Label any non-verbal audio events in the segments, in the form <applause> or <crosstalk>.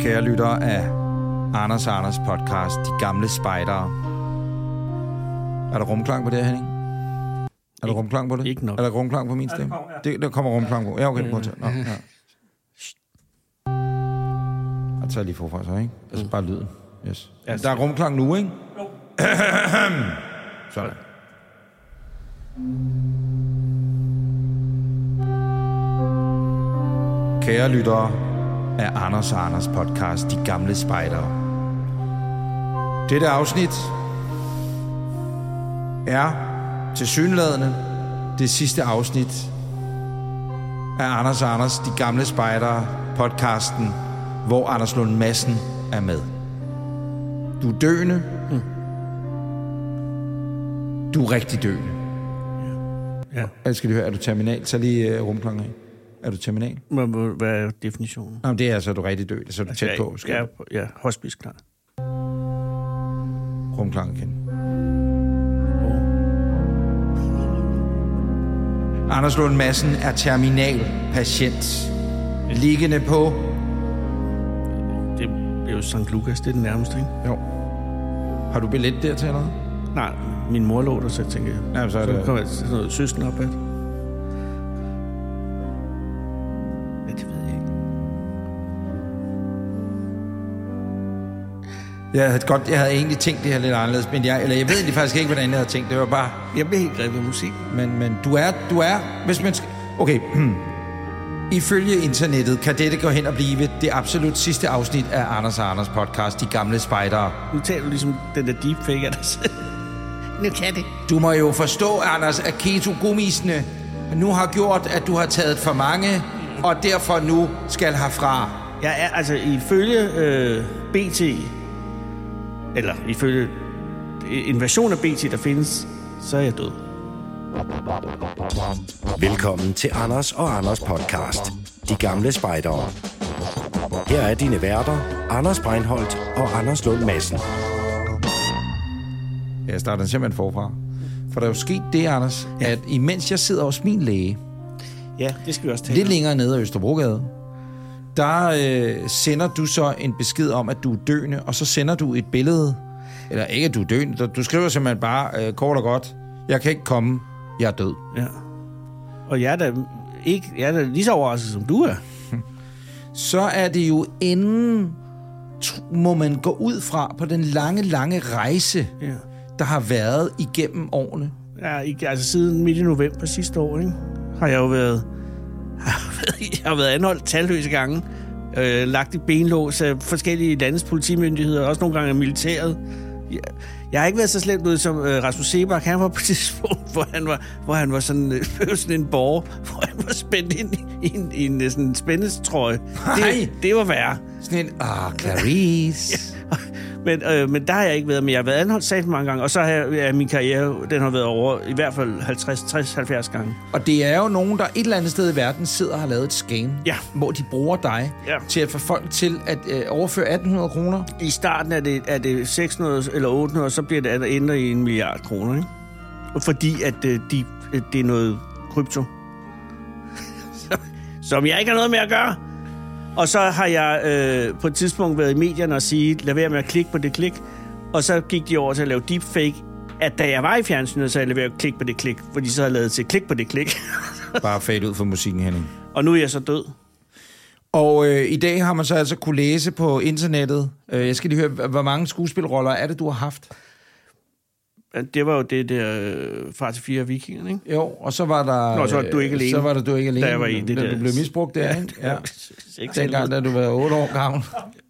kære lyttere af Anders og Anders podcast, De Gamle Spejdere. Er der rumklang på det, her, Henning? Er der Ikke- rumklang på det? ikke nok. Er der rumklang på min stemme? Det, der kommer rumklang på. Ja, okay. Prøv at <laughs> tage. Nå, ja. Jeg tager lige forfra så, ikke? Altså bare lyden. Yes. Der er rumklang nu, ikke? Jo. <clears throat> Sådan. Kære lyttere af Anders og Anders podcast, De Gamle Spejdere. Dette afsnit er til synlædende det sidste afsnit af Anders og Anders, De Gamle Spejdere podcasten, hvor Anders Lund Madsen er med. Du er døende. Du er rigtig døende. Ja. Jeg skal lige høre, er du terminal? Tag lige uh, rumklangen af. Er du terminal? Hvad, hvad- hvad er definitionen? Nå, men det er altså, at du er rigtig døende, så er du tæt på. Skal Ja, ja. ja, ja hospice klar. rumklangen igen. Anders Lund Madsen er terminalpatient. Liggende på... Det, det er jo St. Lukas, det er den nærmeste, ikke? Jo. Har du billet der til noget? Nej, min mor lå der, så tænker jeg. Ja, så er det- Så kommer jeg til sådan noget søsten op ad. Ja, det ved jeg ikke. Jeg havde, godt, jeg havde egentlig tænkt det her lidt anderledes, men jeg, eller jeg ved egentlig faktisk ikke, hvordan jeg havde tænkt det. Det var bare... Jeg bliver helt grebet af musik. Men, men du er, du er, hvis man skal... Okay, <clears throat> ifølge internettet kan dette gå hen og blive det absolut sidste afsnit af Anders og Anders podcast, De Gamle Spejdere. Nu taler du ligesom den der deepfake af dig selv. <laughs> Nu kan det. Du må jo forstå, Anders, at keto-gummisene nu har gjort, at du har taget for mange, og derfor nu skal herfra. Jeg er altså ifølge øh, BT, eller ifølge en version af BT, der findes, så er jeg død. Velkommen til Anders og Anders podcast. De gamle spejdere. Her er dine værter, Anders Breinholt og Anders Lund Madsen. Jeg starter simpelthen forfra. For der er jo sket det, Anders, at imens jeg sidder hos min læge, Ja, det skal vi også tale lidt længere nede ad Østerbrogade, der øh, sender du så en besked om, at du er døende, og så sender du et billede. Eller ikke, at du er døende. Du- Du skriver simpelthen bare, øh, kort og godt, jeg kan ikke komme, jeg er død. Ja. Og jeg er da, ikke, jeg er da lige så overrasket, som du er. Så er det jo inden, tr- må man gå ud fra på den lange, lange rejse, Ja. der har været igennem årene. ja ikke, altså siden midt i november sidste år, ikke, har jeg jo været, <laughs> jeg har været anholdt talløse gange. Øh, lagt i benlås af forskellige landes politimyndigheder, også nogle gange af militæret. Jeg, jeg har ikke været så slemt ud som øh, Rasmus Sebak. Han var på et <laughs> tidspunkt, hvor han var, hvor han var sådan, øh, <laughs> sådan en borger, hvor han var spændt ind i en, i en, øh, sådan en spændestrøje. Nej. Det, det var værre. Sådan en, ah, <laughs> Clarice. <laughs> men, øh, men der har jeg ikke været, men jeg har været anholdt sat mange gange, og så har jeg, ja, min karriere, den har været over i hvert fald 50, 60, 70 gange. Og det er jo nogen, der et eller andet sted i verden sidder og har lavet et scam, Ja. hvor de bruger dig Ja. til at få folk til at øh, overføre 1.800 kroner. I starten er det, er det 600 eller 800, og så bliver det at det ender i en milliard kroner, ikke? Og Fordi at øh, de, øh, det er noget krypto, <laughs> Som- som jeg ikke har noget med at gøre. Og så har jeg øh, på et tidspunkt været i medierne og sige, lad være med at klikke på det klik. Og så gik de over til at lave deepfake, at da jeg var i fjernsynet, så jeg lad være med at klikke på det klik, fordi så havde jeg lavet til klik på det klik. <laughs> <laughs> Bare fade ud for musikken, Henning. Og nu er jeg så død. Og øh, i dag har man så altså kunne læse på internettet. Øh, jeg skal lige høre, h- hvor mange skuespilroller er det, du har haft? Det var jo det der øh, far til fire vikingerne, ikke? Jo, og så var der... Nå, så var du ikke øh, alene. Så var der du ikke alene. Da jeg var i det da der- Du blev misbrugt der, ikke? <laughs> Ja. Ikke Dengang, da du var 8 år gammel.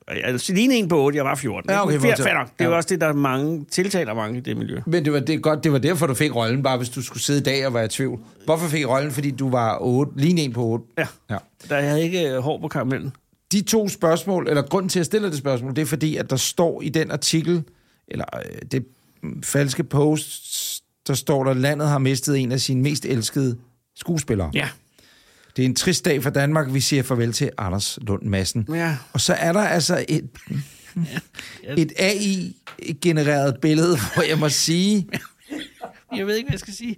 Altså, lignede en på 8, jeg var 14. Ja, ikke? okay, Men fortæl. fair, fair nok. Det er jo Ja. også det, der er mange, tiltaler mange i det miljø. Men det var, det, er godt, det var derfor, du fik rollen, bare hvis du skulle sidde i dag og være i tvivl. Hvorfor fik I rollen? Fordi du var 8, lige en på 8. Ja. ja. Der jeg havde ikke øh, hår på karamellen. De to spørgsmål, eller grunden til, at jeg stiller det spørgsmål, det er fordi, at der står i den artikel, eller øh, det mm, falske post, der står der, at landet har mistet en af sine mest elskede skuespillere. Ja. Det er en trist dag for Danmark. Vi siger farvel til Anders Lund Madsen. Ja. Og så er der altså et, et AI-genereret billede, hvor jeg må <laughs> sige, Jeg ved ikke, hvad jeg skal sige.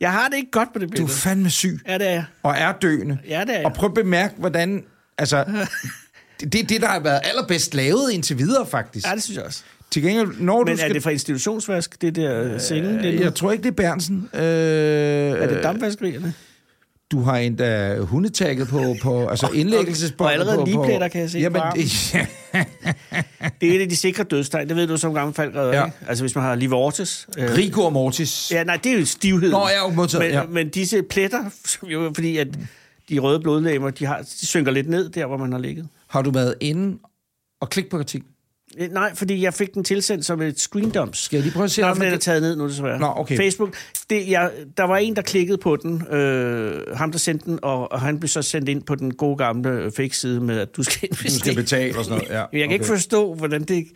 Jeg har det ikke godt på det du er billede. fandme syg Ja, det er jeg. og er døende. Ja, det er Og jeg. <laughs> prøv at bemærke, hvordan... Altså, Det er det, der har været allerbedst lavet indtil videre, faktisk. Ja, det synes jeg også. Til gengæld, når Men du er skal... det fra institutionsvask, det der øh, senge? Det er, Jeg tror ikke, det er Bernsen. Øh, er er det dampvaskerierne? Du har endda hundetagget på, på altså indlæggelsesbåndet. Og allerede på, ligpletter, kan jeg se på Jamen, armen. ja, <laughs> Det er et af de sikre dødstegn, det ved du som gammel falder. Ja. Ja. Altså hvis man har livortis. Øh, Rigor mortis. Ja, nej, det er jo stivhed. Nå, ja, jo, modtaget, men, ja. men disse pletter, <laughs> som jo, fordi at de røde blodlemmer, de, har, de synker lidt ned der, hvor man har ligget. Har du været inde og klik på kritik? Øh, Nej, fordi jeg fik den tilsendt som et screendump. Skal jeg lige prøve at se, Nej, om for den er det- taget ned nu, desværre. Nå, okay. Facebook, det, jeg, der var en, der klikkede på den, øh, ham der sendte den, og, og han blev så sendt ind på den gode gamle øh, fake-side med, at du skal investere. Du skal betale og sådan noget. Ja, Men jeg kan ikke forstå, hvordan det...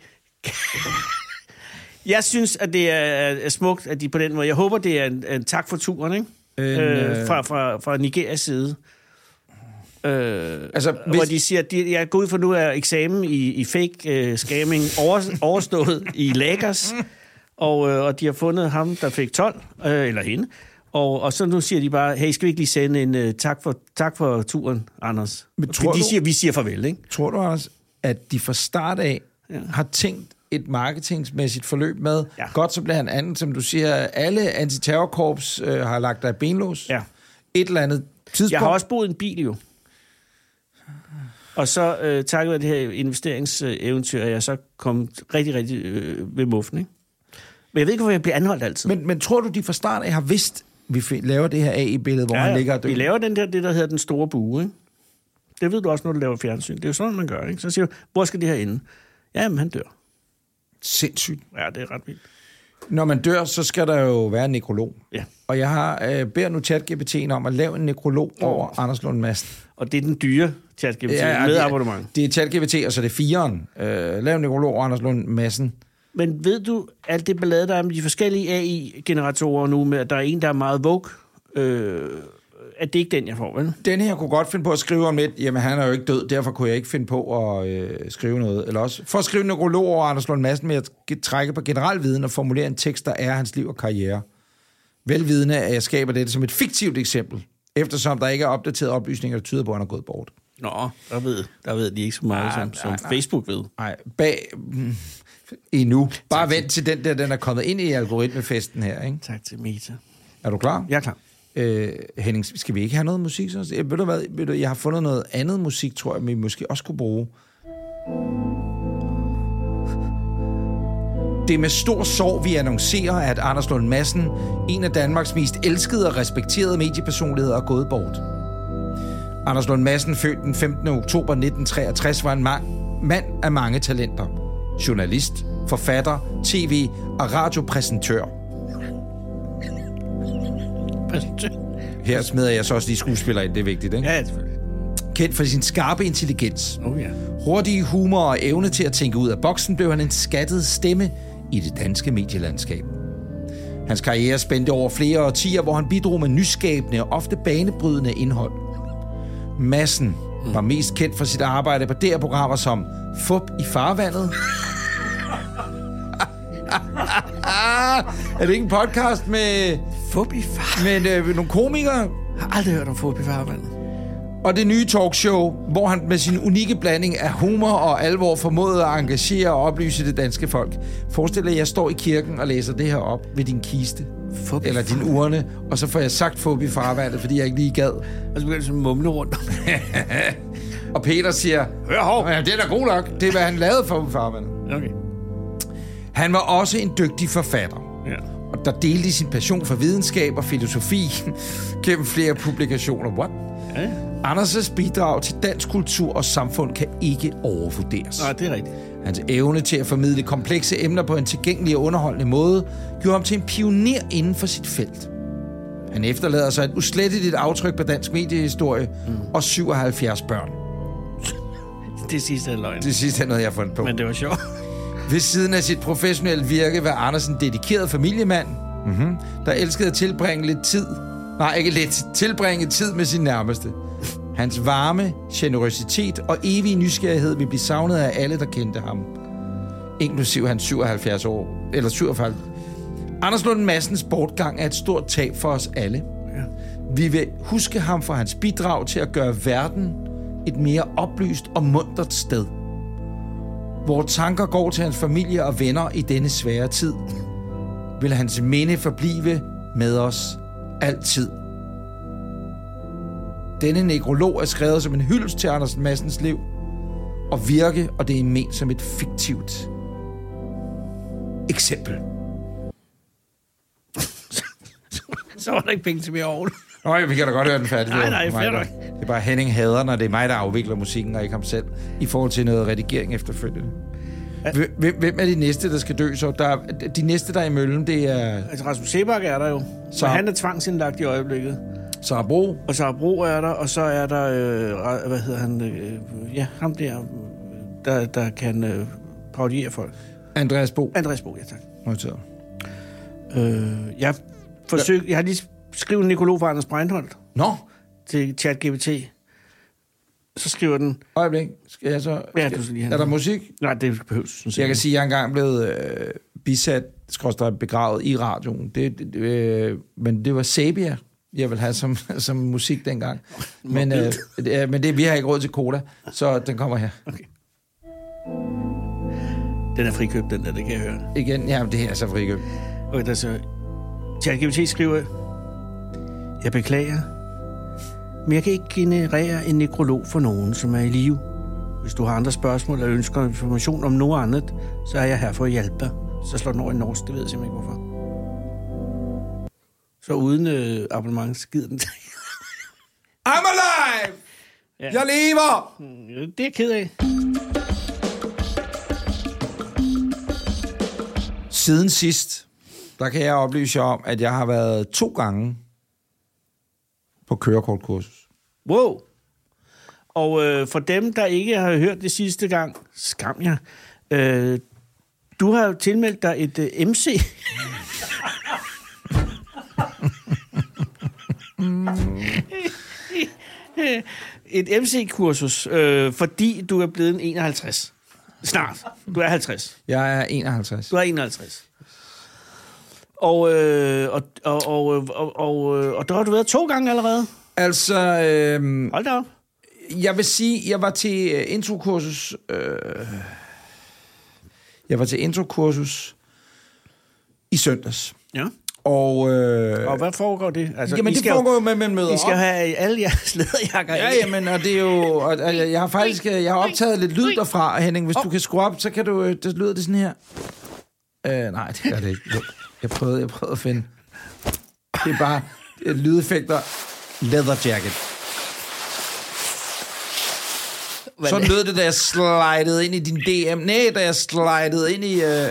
jeg synes, at det er, er smukt, at de på den måde... Jeg håber, det er en, en tak for turen, ikke? En, øh, øh, fra, fra, fra Nigerias side. Øh, Altså, hvis... Hvor hvis, de siger, at de, jeg går ud for nu er eksamen i, i fake uh, scamming over, overstået <laughs> i Lagos, og, øh, og de har fundet ham, der fik 12, øh, eller hende, og, og så nu siger de bare, hey, skal vi ikke lige sende en uh, tak, for, tak for turen, Anders? Men Men tror tror de du- siger, vi siger farvel, ikke? tror du, Anders, at de fra start af ja. Ja. har tænkt et marketingsmæssigt forløb med, ja. Ja. godt så bliver han anden, som du siger, alle antiterrorkorps øh, har lagt dig i benlås. Ja. Et eller andet tidspunkt. Jeg har også boet i en bil jo. Og så øh, takket være det her investeringseventyr, er jeg så kommet rigtig, rigtig øh, ved muffen, ikke? Men jeg ved ikke, hvorfor jeg bliver anholdt altid. Men, men tror du, de fra start af har vidst, vi fi- laver det her AI-billede, hvor ja, han ligger og dør? Vi laver den der, det der hedder den store bue, ikke? Det ved du også, når du laver fjernsyn. Det er jo sådan, man gør, ikke? Så siger du, hvor skal det her ende? Jamen, han dør. Sindssygt. Ja, det er ret vildt. Når man dør, så skal der jo være en nekrolog. Ja. Og jeg har øh, beder nu ChatGPT'en om at lave en nekrolog over Anders Lund Madsen. Og det er den dyre chat GPT Ja, ja, med det er- abonnement. Det er ChatGPT, og så er det fireren. Øh, lav en nekrolog over Anders Lund Madsen. Men ved du, alt det ballade, der er med de forskellige AI-generatorer nu, med at der er en, der er meget vogue, øh, at det ikke er den, jeg får, vel? Den her kunne godt finde på at skrive om lidt. Jamen, han er jo ikke død, derfor kunne jeg ikke finde på at øh, skrive noget. Eller også for at skrive en nekrolog over Anders Lund Madsen med at ge- trække på generel viden og formulere en tekst, der er hans liv og karriere. Velvidende, at jeg skaber dette som et fiktivt eksempel, eftersom der ikke er opdaterede oplysninger, der tyder på, at han er gået bort. Nå, der ved, der ved de ikke så meget, Nej, som, som nej, nej. Facebook ved. Nej, bag... mm, Endnu. Bare vent til den der, den er kommet ind i algoritmefesten her, ikke? Tak til Meta. Er du klar? Jeg er klar. Øh, Henning, skal vi ikke have noget musik? Så? Jeg, ved du hvad, ved du, jeg har fundet noget andet musik, tror jeg, vi måske også kunne bruge. Det er med stor sorg, vi annoncerer, at Anders Lund Madsen, en af Danmarks mest elskede og respekterede mediepersonligheder, er gået bort. Anders Lund Madsen, født den 15. oktober 1963, var en man, mand af mange talenter. Journalist, forfatter, tv- og radiopræsentør. Her smider jeg så også lige skuespiller ind, det er vigtigt, ikke? Ja, selvfølgelig. Kendt for sin skarpe intelligens, Oh, ja. hurtige humor og evne til at tænke ud af boksen, blev han en skattet stemme i det danske medielandskab. Hans karriere spændte over flere årtier, hvor han bidrog med nyskabende og ofte banebrydende indhold. Massen var mest kendt for sit arbejde på DR-programmer som Fup i farvandet. <laughs> er det ikke en podcast med, Fobi far. med øh, nogle komikere? Jeg har aldrig hørt om Fobi farvandet. Og det nye talkshow, hvor han med sin unikke blanding af humor og alvor formåede at engagere og oplyse det danske folk. Forestil dig, at jeg står i kirken og læser det her op ved din kiste. Fup i Eller din urne, og så får jeg sagt fup i farvandet, fordi jeg ikke lige gad. Og så begynder jeg at mumle rundt om det. Og Peter siger, Hør hov. ja, det er da god nok. Det er, hvad han lavede fup i farvandet. Okay. Han var også en dygtig forfatter. Ja. og der delte sin passion for videnskab og filosofi <laughs> gennem flere publikationer. What? Ja, ja. Anders' bidrag til dansk kultur og samfund kan ikke overvurderes. Nej, det er rigtigt. Hans evne til at formidle komplekse emner på en tilgængelig og underholdende måde gjorde ham til en pioner inden for sit felt. Han efterlader sig et usletteligt aftryk på dansk mediehistorie mm. og 77 børn. Det sidste er løgn. Det sidste er noget, jeg har fundet på. Men det var sjovt. <laughs> Ved siden af sit professionelle virke var Andersen dedikeret familiemand, mm-hmm. der elskede at tilbringe lidt tid. Nej, ikke lidt. Tilbringe tid med sin nærmeste. Hans varme, generøsitet og evige nysgerrighed vil blive savnet af alle, der kendte ham. Inklusiv hans 77 år, eller 47. Anders Lund Massens bortgang er et stort tab for os alle. Vi vil huske ham for hans bidrag til at gøre verden et mere oplyst og muntert sted. Hvor tanker går til hans familie og venner i denne svære tid, vil hans minde forblive med os altid. Denne nekrolog er skrevet som en hyldest til Anders Massens liv og virke, og det er ment som et fiktivt eksempel. Så var der ikke penge til mere ovl. Nå, vi kan da godt høre den færdig. Nej, Det er nej, jo mig, fair der- nok. Det er bare Henning hader, når det er mig, der afvikler musikken, og ikke ham selv, i forhold til noget redigering efterfølgende. Hvem- Hvem, hvem er de næste, der skal dø så? Der er, de næste, der er i møllen, det er Altså, Rasmus Sebak er der jo. Så Så- han er tvangsindlagt i øjeblikket. Sara Bro, Og så er Bro er der, og så er der, øh, Ra- hvad hedder han, øh, ja, ham der, øh, der, der kan øh, parodiere folk. Andreas Bo. Andreas Bo, ja tak. Noteret. Øh, jeg, forsøg, jeg har lige skrevet en nekrolog for Anders Breinholt Nå, til ChatGPT. Så skriver den, øjeblik. Skal jeg så... Ja, du skal lige have er der noget. musik? nej, det behøves sådan set. Jeg kan sige, at jeg er engang blevet øh, bisat, skråstrej begravet i radioen. Det, det, øh, men det var Sabia, jeg ville have som, <laughs> som musik dengang. Men, øh, det, er- men det, vi har ikke råd til Koda, så den kommer her. Den er frikøbt, den der, det kan jeg høre. Igen, ja, men det her er så frikøb. Og der så... ChatGPT skriver... Jeg beklager, men jeg kan ikke generere en nekrolog for nogen, som er i live. Hvis du har andre spørgsmål eller ønsker information om noget andet, så er jeg her for at hjælpe dig. Så slår den over i norsk, det ved jeg simpelthen ikke hvorfor. Så uden øh, abonnement, så gider den <laughs> til. I'm alive! Ja. Jeg lever! Det er jeg ked af. Siden sidst, der kan jeg oplyse jer om, at jeg har været to gange på kørekortkursus. Wow. Og øh, for dem, der ikke har hørt det sidste gang, skam jer. Øh, du har jo tilmeldt dig et øh, MC. <laughs> et MC-kursus, øh, fordi du er blevet en 51. Snart. Du er 50. Jeg er 51. Du er 51. Og, øh, og, og, og, og, og, og, øh, og der har du været to gange allerede. Altså, øh, Hold da op. Jeg vil sige, jeg var til øh, introkursus... Øh, jeg var til introkursus i søndags. Ja. Og, øh, Og hvad foregår det? Altså, jamen, I det skal foregår jo, jo med, at man møder I skal op. have alle jeres <laughs> læderjakker Ja, af. jamen, og det er jo... Og, og jeg, jeg har faktisk øh, jeg har optaget lidt lyd derfra, Henning. Hvis du kan skrue op, så kan du... øh, Det lyder det sådan her. Øh, nej, det gør det ikke. Jo, Jeg prøvede, jeg prøvede at finde... Det er bare øh, lydeffekter. Leather jacket. Hvad- Sådan lød det, da jeg slidede ind i din DM. Nej, da jeg slidede ind i... Øh...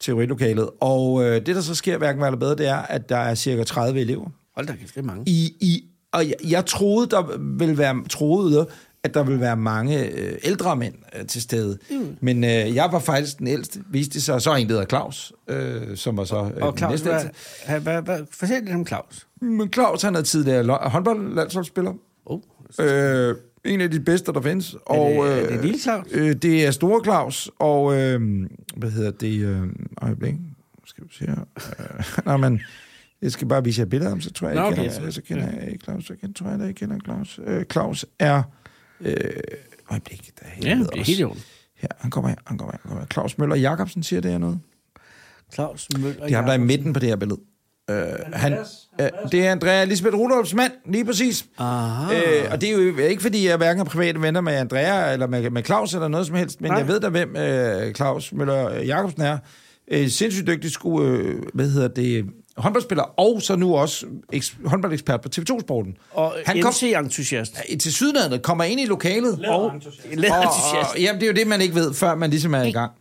Teorilokalet. Og øh, det, der så sker hverken værre eller bedre, det er, at der er cirka 30 elever. Hold da kæft, det er mange. I, i, og jeg, jeg troede, der ville være, troede, at der ville være mange øh, ældre mænd øh, til stede. Mm. Men øh, jeg var faktisk den ældste, viste det sig. Så er en, der hedder Claus, øh, som var så øh, Og den Claus, næste hvad, ældste. hvad, hvad, hvad, fortæl lidt om Claus. Men Claus, han er tidligere lo- håndboldlandsholdsspiller. Oh. Øh, en af de bedste, der findes. Og, det- er det lille Claus? Øh, det er Store Claus, og øh, hvad hedder det? Øh, øjeblik, skal vi se her. Øh, <laughs> nej, men jeg skal bare vise jer billeder af ham, så tror jeg, Nå, jeg okay, kender, så- så, så kender jeg ikke Claus, så kender, tror jeg, da jeg kender Claus. Øh, Claus er... Øh, øjeblik, der er Ja, det er helt i orden. Her, han kommer her, han kommer her, han kommer her. Claus Møller Jacobsen siger det her noget. Claus Møller. Det er ham, der er i Jacobsen. midten på det her billede. Øh, han, øh, det er Andrea Elisabeth Rudolfs mand, lige præcis. Aha. Øh, og det er jo ikke, fordi jeg hverken er private venner med Andrea eller med, med Claus eller noget som helst, men Nej. Nej. jeg ved da, hvem øh, Claus Møller øh, Jacobsen er. Øh, sindssygt dygtig sku, øh, hvad hedder det, håndboldspiller, og så nu også eks- håndboldekspert på TV2-sporten. Og han kom MC-entusiast. til sydlandet, kommer ind i lokalet, Og og, <laughs> læderentusiast. og, jamen, det er jo det, man ikke ved, før man ligesom er i gang.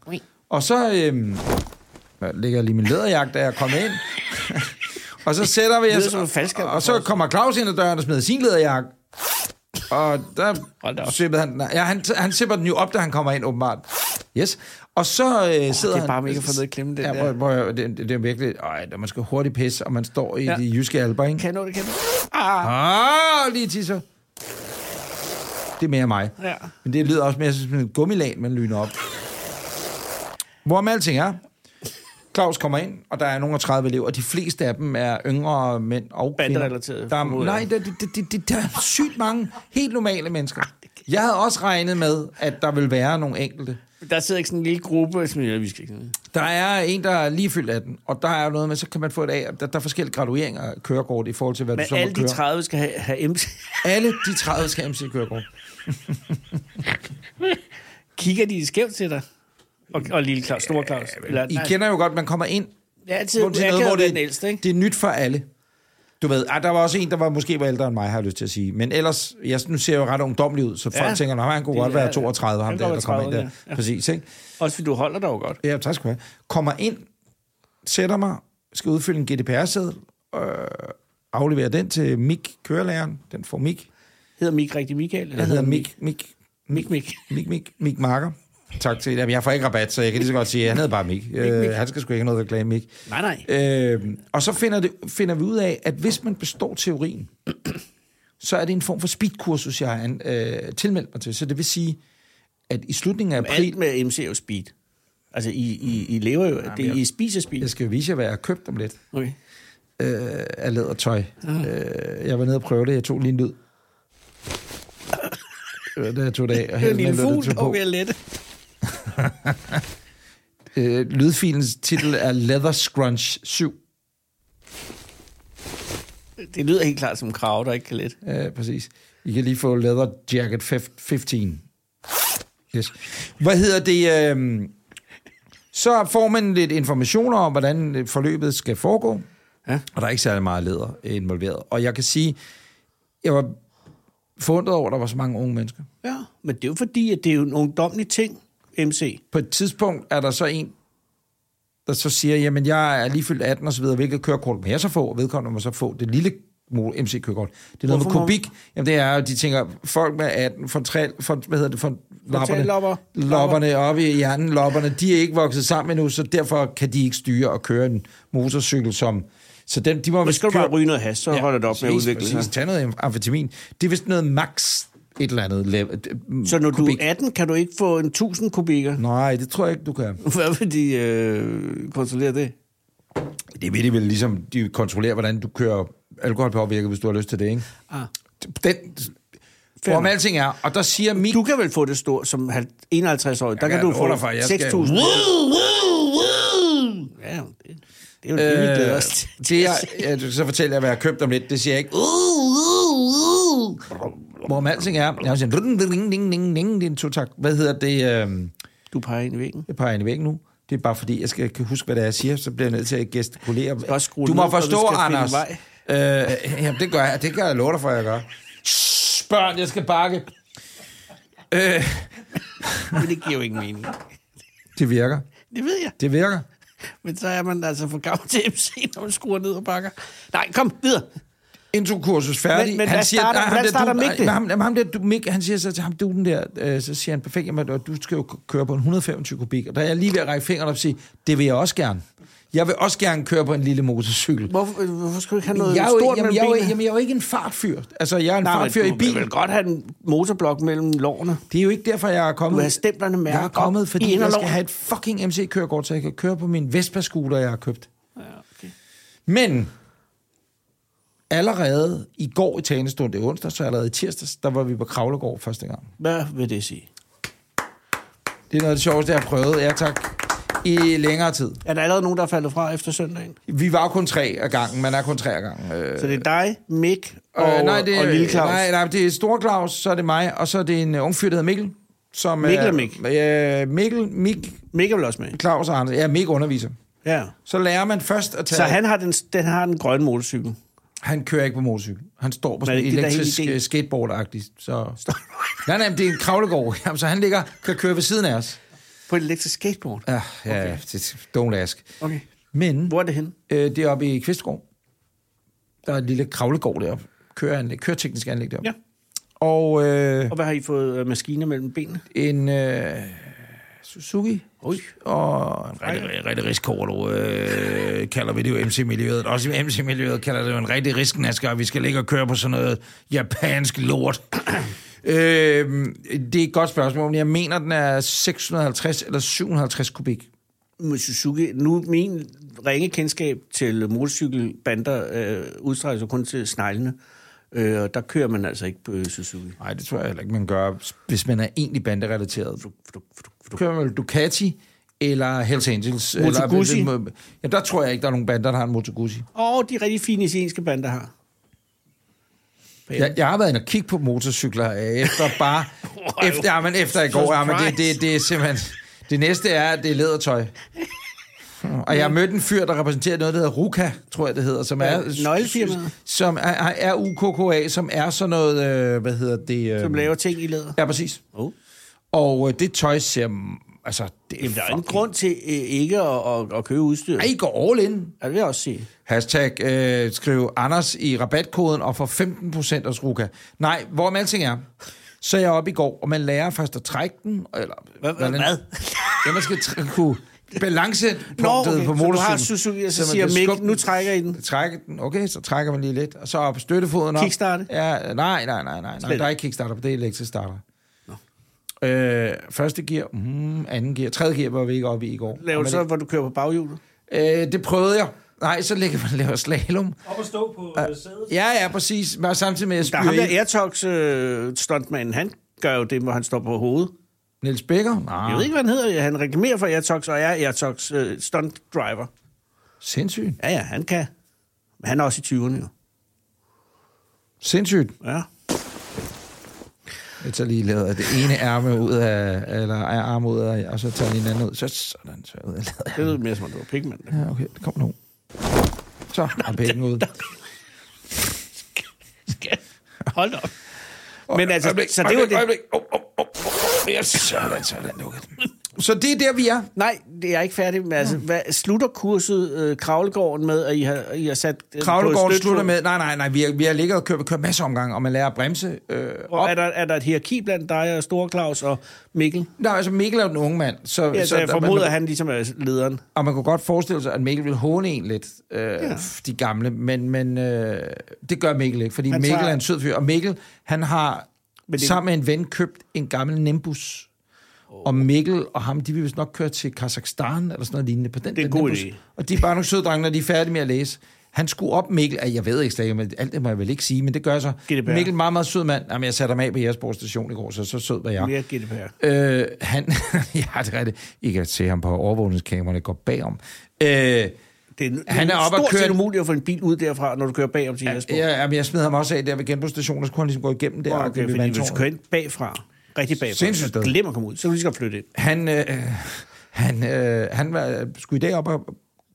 Og så øhm, jeg lægger lige min læderjagt, da jeg kommer ind. og så sætter vi lyder som en os, faldskærm. og, og så kommer Claus ind ad døren og smider sin læderjakke. Og Hold da der op. sippede han, nej, ja, han, han sipper den jo op, da han kommer ind, åbenbart. Yes. Og så øh, sidder han... det er bare mega fornødt at klemme den ja, der. Hvor, hvor, det, det, det er virkelig... Ej, der man skal hurtigt pisse, og man står i ja. de jyske alber, ikke? Kan jeg nå det, kan jeg nå det? Ah, Ah, lige tisser. Det er mere mig. Ja. Men det lyder også mere som sådan en gummilan, man lyner op. Hvor med alting er, Claus kommer ind, og der er nogle af 30 elever, og de fleste af dem er yngre mænd og Banderelaterede, Der er, formoder nej, jeg. der, der, der, der, der er sygt mange helt normale mennesker. Jeg havde også regnet med, at der ville være nogle enkelte. Der sidder ikke sådan en lille gruppe, som jeg, vi skal ikke. Der er en, der er lige fyldt 18, og der er jo noget med, så kan man få et af, der, der er forskellige gradueringer af kørekort i forhold til, hvad Men du så alle må køre. de 30 skal have, have MC. alle de 30 skal MC-kørekort. <laughs> Kigger de skævt til dig? Og, og lille Claus, store Claus. Eller, I nej, kender jo godt, man kommer ind det er altid Hvor det er noget, hvor akavet det, det... den ældste, ikke? det er nyt for alle. Du ved, ah, der var også en, der var måske var ældre end mig, har jeg lyst til at sige. Men ellers, jeg, nu ser jeg jo ret ungdomlig ud, så folk ja, Ja. tænker, "Nå, han kunne Det godt er- være 32, ham han der, går der kommer ind 30, der. Ja. ja. Præcis, ikke? Også fordi du holder dig jo godt. Ja, tak skal du have. Kommer ind, sætter mig, skal udfylde en GDPR-sædel, øh, afleverer den til Mik, kørelæreren. Den får Mik. Hedder Mik rigtig Michael? Eller Den hedder Mik, Mik, Mik Mik. Mik, Mik, Mik Marker. Tak til Jamen, jeg får ikke rabat, så jeg kan lige så godt sige, at han hedder bare Mik. Øh, han skal sgu ikke have noget reklame, Mik. Nej, nej. Øh, og så finder, det, finder vi ud af, at hvis man består teorien, <clears throat> så er det en form for speedkursus, jeg har an- øh, tilmeldt mig til. Så det vil sige, at i slutningen af Alt april... med MC er jo speed. Altså, I, I, I lever jo, det, I spiser speed. Jeg skal jo vise jer, hvad jeg har købt om lidt Okay. øh, af lædertøj. Øh, jeg var nede og prøve det. Jeg tog lige <laughs> en lyd. Det var det, jeg tog det af. Og Det er hældte en lille den lille fugl, tog der på. ved at lette. Øh, lydfilens titel er Leather Scrunch 7. Det lyder helt klart som en krav, der ikke kan lette. Ja, præcis. I kan lige få Leather Jacket fif- 15. Yes. Hvad hedder det? øhm, Så får man lidt informationer om, hvordan øh, forløbet skal foregå. Ja. Og der er ikke særlig meget leder øh, involveret. Og jeg kan sige, jeg var forundret over, at der var så mange unge mennesker. Ja, men det er jo fordi, at det er jo en ungdomlig ting, MC. På et tidspunkt er der så en, der så siger, jamen jeg er lige fyldt 18 og så videre, hvilket kørekort må jeg så få, og vedkommende må så få det lille MC-kørekort. Det er noget Hvorfor med må- kubik. Jamen det er jo, de tænker, folk med 18, for, træ, for hvad hedder det, for lapperne, lopper. lopperne oppe i hjernen, lopperne, de er ikke vokset sammen endnu, så derfor kan de ikke styre og køre en motorcykel som... Så dem, de må Men vist skal du køre- bare ryge noget has, så ja, holder det op med at præcis, udvikle præcis. sig. Tag noget amfetamin. Det er vist noget max et eller andet. level- Så når kubik. du er 18, kan du ikke få en 1000 kubikker? Nej, det tror jeg ikke, du kan. <laughs> Hvad vil de øh, kontrollere det? Det ved de vel ligesom, de kontrollerer, hvordan du kører alkoholpåvirket, hvis du har lyst til det, ikke? Ah. Den, Fair hvorom nok. alting er, og der siger Mik... Du kan vel få det stort som halv- 51-årig. Der kan du få 6.000. Ja, det, det er jo det, vi glæder Øh, os til. det er, ja, du- så fortæller jeg, hvad jeg har købt om lidt. Det siger jeg ikke. Hvorom alting er, jeg har sådan, ding, ding, ding, ding, ding, det er en totakt. Hvad hedder det? øhm, Du peger ind i væggen. <laughs> Jeg peger ind i væggen nu. Det er bare fordi, jeg skal kan huske, hvad det er, jeg siger, så bliver jeg nødt til at gestikulere. skal også skrue Du ned, må når du forstå, skal finde Anders. vej. Øh, jamen, det gør jeg. Det gør jeg lov dig for, jeg gør. Shh, børn, jeg skal bakke. Øh, Men det giver jo ingen mening. det virker. Det ved jeg. <laughs> Det virker. Men så er man altså for gammel til MC, når man skruer ned og bakker. Nej, kom videre. Introkursus færdig. Men- men hvad starter- ham hvordan der, starter du, Mik nej, det? Ham, ham der, du, Mik, han siger så til ham, du den der, øh, så siger han, perfekt, jamen, og du skal jo k- køre på en 125 kubik. Og der er jeg lige ved at række fingrene op og sige, det vil jeg også gerne. Jeg vil også gerne køre på en lille motorcykel. Hvorfor, øh, hvorfor skal du ikke have noget jeg er jo, stort ikke- jamen, mellem jeg, er jo, ikke- benene? jamen, jeg er jo ikke en fartfyr. Altså, jeg er en Nej, men fartfyr i du bil. vil vel godt have en motorblok mellem lårene. Det er jo ikke derfor, jeg er kommet. Du har stemplerne mærket Jeg er op kommet, i fordi jeg skal inderlommen. have et fucking MC-kørekort, så jeg kan køre på min Vespa-scooter, jeg har købt. Ja, okay. Men allerede i går i talestund, det er onsdag, så allerede i tirsdags, der var vi på Kravlegård første gang. Hvad vil det sige? Det er noget af det sjoveste, jeg har prøvet. Ja, tak. I længere tid. Er der allerede nogen, der er faldet fra efter søndagen? Vi var jo kun tre af gangen. Man er kun tre af gangen. Øh, Så det er dig, Mik og, øh, nej, det, og Lille Claus. Nej, nej, det er Stor Claus, så er det mig, og så er det en øh, ung fyr, der hedder Mikkel. Som, Mikkel er- og Mik. Øh, Mikkel, Mik, Mik er vel også med? Claus og Anders. Ja, Mik underviser. Ja. Så lærer man først at tage... Så han har den, den, har den grønne motorcykel. Han kører ikke på motorcykel. Han står på Men sådan er det en ikke det, der er elektrisk hele ideen? øh, skateboard-agtigt. Så... <laughs> nej, nej, men det er en kravlegård. <laughs> Jamen, så han ligger kan køre ved siden af os. På et elektrisk skateboard? Ja, ja okay. det, don't ask. Okay. Men Hvor er det henne? øh, det er oppe i Kvistgård. Der er et lille kravlegård deroppe. Køreanlæg, køreteknisk anlæg deroppe. Ja. Og øh, Og hvad har I fået øh, maskiner mellem benene? en øh, Suzuki. Ui. Og en rigtig, rigtig riskorlo, øh, kalder vi det jo MC-miljøet. Også i MC-miljøet kalder det jo en rigtig riskenasker, og vi skal ligge og køre på sådan noget japansk lort. <clears throat> øh, det er et godt spørgsmål, men jeg mener, den er 650 eller 750 kubik. med Suzuki, nu min ringe kendskab til motorcykelbander øh, udstrækker sig kun til sneglene, øh, og der kører man altså ikke på øh, Suzuki. Nej, det tror jeg heller ikke, man gør, hvis man er egentlig banderelateret. Du kører vel Ducati eller Hells Angels. Motoguzzi. Eller, ja, der tror jeg ikke, der er nogen bander, der har en Motoguzzi. Og de rigtig fine italienske bander har. Jeg, jeg har været inde og kigge på motorcykler øh, efter bare... <laughs> Wow. efter, ja, men efter i går. Ja, men det, det, det er simpelthen... Det næste er, at det er lædertøj. Og jeg mødte en fyr, der repræsenterer noget, der hedder Ruka, tror jeg det hedder, som Ja, er... nøglefirmaet. Som er, er UKKA, som er sådan noget... Øh, hvad hedder det? Øh, Som laver ting i læder. Ja, præcis. Oh. Og øh, det tøj ser... mm, Altså, det er Jamen, der er jo ingen fucking- grund til øh, ikke at, at, at købe udstyr. Ej, I går all in. Ja, det vil jeg også sige. Hashtag øh, skriv Anders i rabatkoden og får 15% hos Ruka. Nej, hvorom alting er, så er jeg oppe i går, og man lærer først at trække den, eller... Hvad? hvad, hvordan- hvad? Ja, man skal tr- kunne balance Nå, okay, på så du motorcyklen. har Suzuki, og så, man siger kan Mick, skubbe nu trækker I den. Trække den, okay, så trækker man lige lidt, og så op støttefoden op. Kickstarte? Ja, nej, nej, nej, nej, nej. Slet Der er ikke kickstarter på det, er elektrisk starter. Øh, første gear, mm, anden gear, tredje gear var vi ikke oppe i i går. Laver Og du man- så, hvor du kører på baghjulet? Øh, det prøvede jeg. Nej, så ligger man og laver slalom. Op og stå på øh, sædet. Ja, ja, præcis. Men samtidig med, at jeg Der er ham spyrer der i. Airtox øh, stuntmanden, han gør jo det, hvor han står på hovedet. Niels Bækker? Jeg ved Nej, ikke, hvad han hedder. Han reklamerer for Airtox, og er Airtox øh, stunt driver. sindssygt. Ja, ja, han kan. Men han er også i 20'erne jo. Sindssygt. Ja. Jeg tager lige lavet det ene ærme ud af, eller ej, arm ud af, og så tager jeg den anden ud. Så sådan, så ud af lader jeg. Det lyder mere som, om det var pigmand. Ja, okay, det kommer nu. Så er penge ud. Hold da op. Men altså, Øjeblik, så det var det. Øjeblik, øjeblik. Oh, oh, oh, oh. Yes, sådan, sådan, lukket. Så det er der, vi er. Nej, det er jeg ikke færdig med. Altså, hvad, slutter kurset øh, Kravlegården med, at I har, I har sat... Øh, på et Kravlegården stødfod? slutter med, nej, nej, nej, vi har, vi har ligget og kørt, kørt masser af omgange, og man lærer at bremse øh, op. Og er, der, er der et hierarki blandt dig og Store Claus og Mikkel? Nej, altså Mikkel er jo den unge mand, så, Ja, så jeg der- formoder, at han ligesom er lederen. Og man kunne godt forestille sig, at Mikkel ville håne en lidt, øh, ja. de gamle, men, men øh, det gør Mikkel ikke, fordi Han han Mikkel tager- er en sød fyr. Og Mikkel, han har Men men det- det... sammen med en ven købt en gammel Nimbus. Oh. Og Mikkel og ham, de vil vist nok køre til Kazakhstan eller sådan noget lignende på den er en den god Nimbus. idé. Og de er bare nogle søde drenge, når de er færdige med at læse. Han skulle op Mikkel, ah, jeg ved ikke slet ikke, men alt det må jeg vel ikke sige, men det gør jeg så. GDPR. Mikkel, meget, meget sød mand. Jamen, jeg satte ham af på Jægersborg station i går, så så sød var jeg. Mere GDPR. Øh, han, <laughs> ja, det er rigtigt. I kan se ham på overvågningskameraerne går bagom. Øh, ja, Det er, Han han er er oppe at stort set køre- umuligt at få en bil ud derfra, når du kører bagom til Jesper. Ja, jamen, jeg smed ham også af der ved genbrugsstationen, og så kunne han ligesom gå igennem der. og okay, okay, fordi hvis du kører ind bagfra, rigtig bagfra, Sindssygt så sted. glemmer at komme ud, så kan du lige skal flytte ind. han, øh, han, øh, han var, skulle i dag op og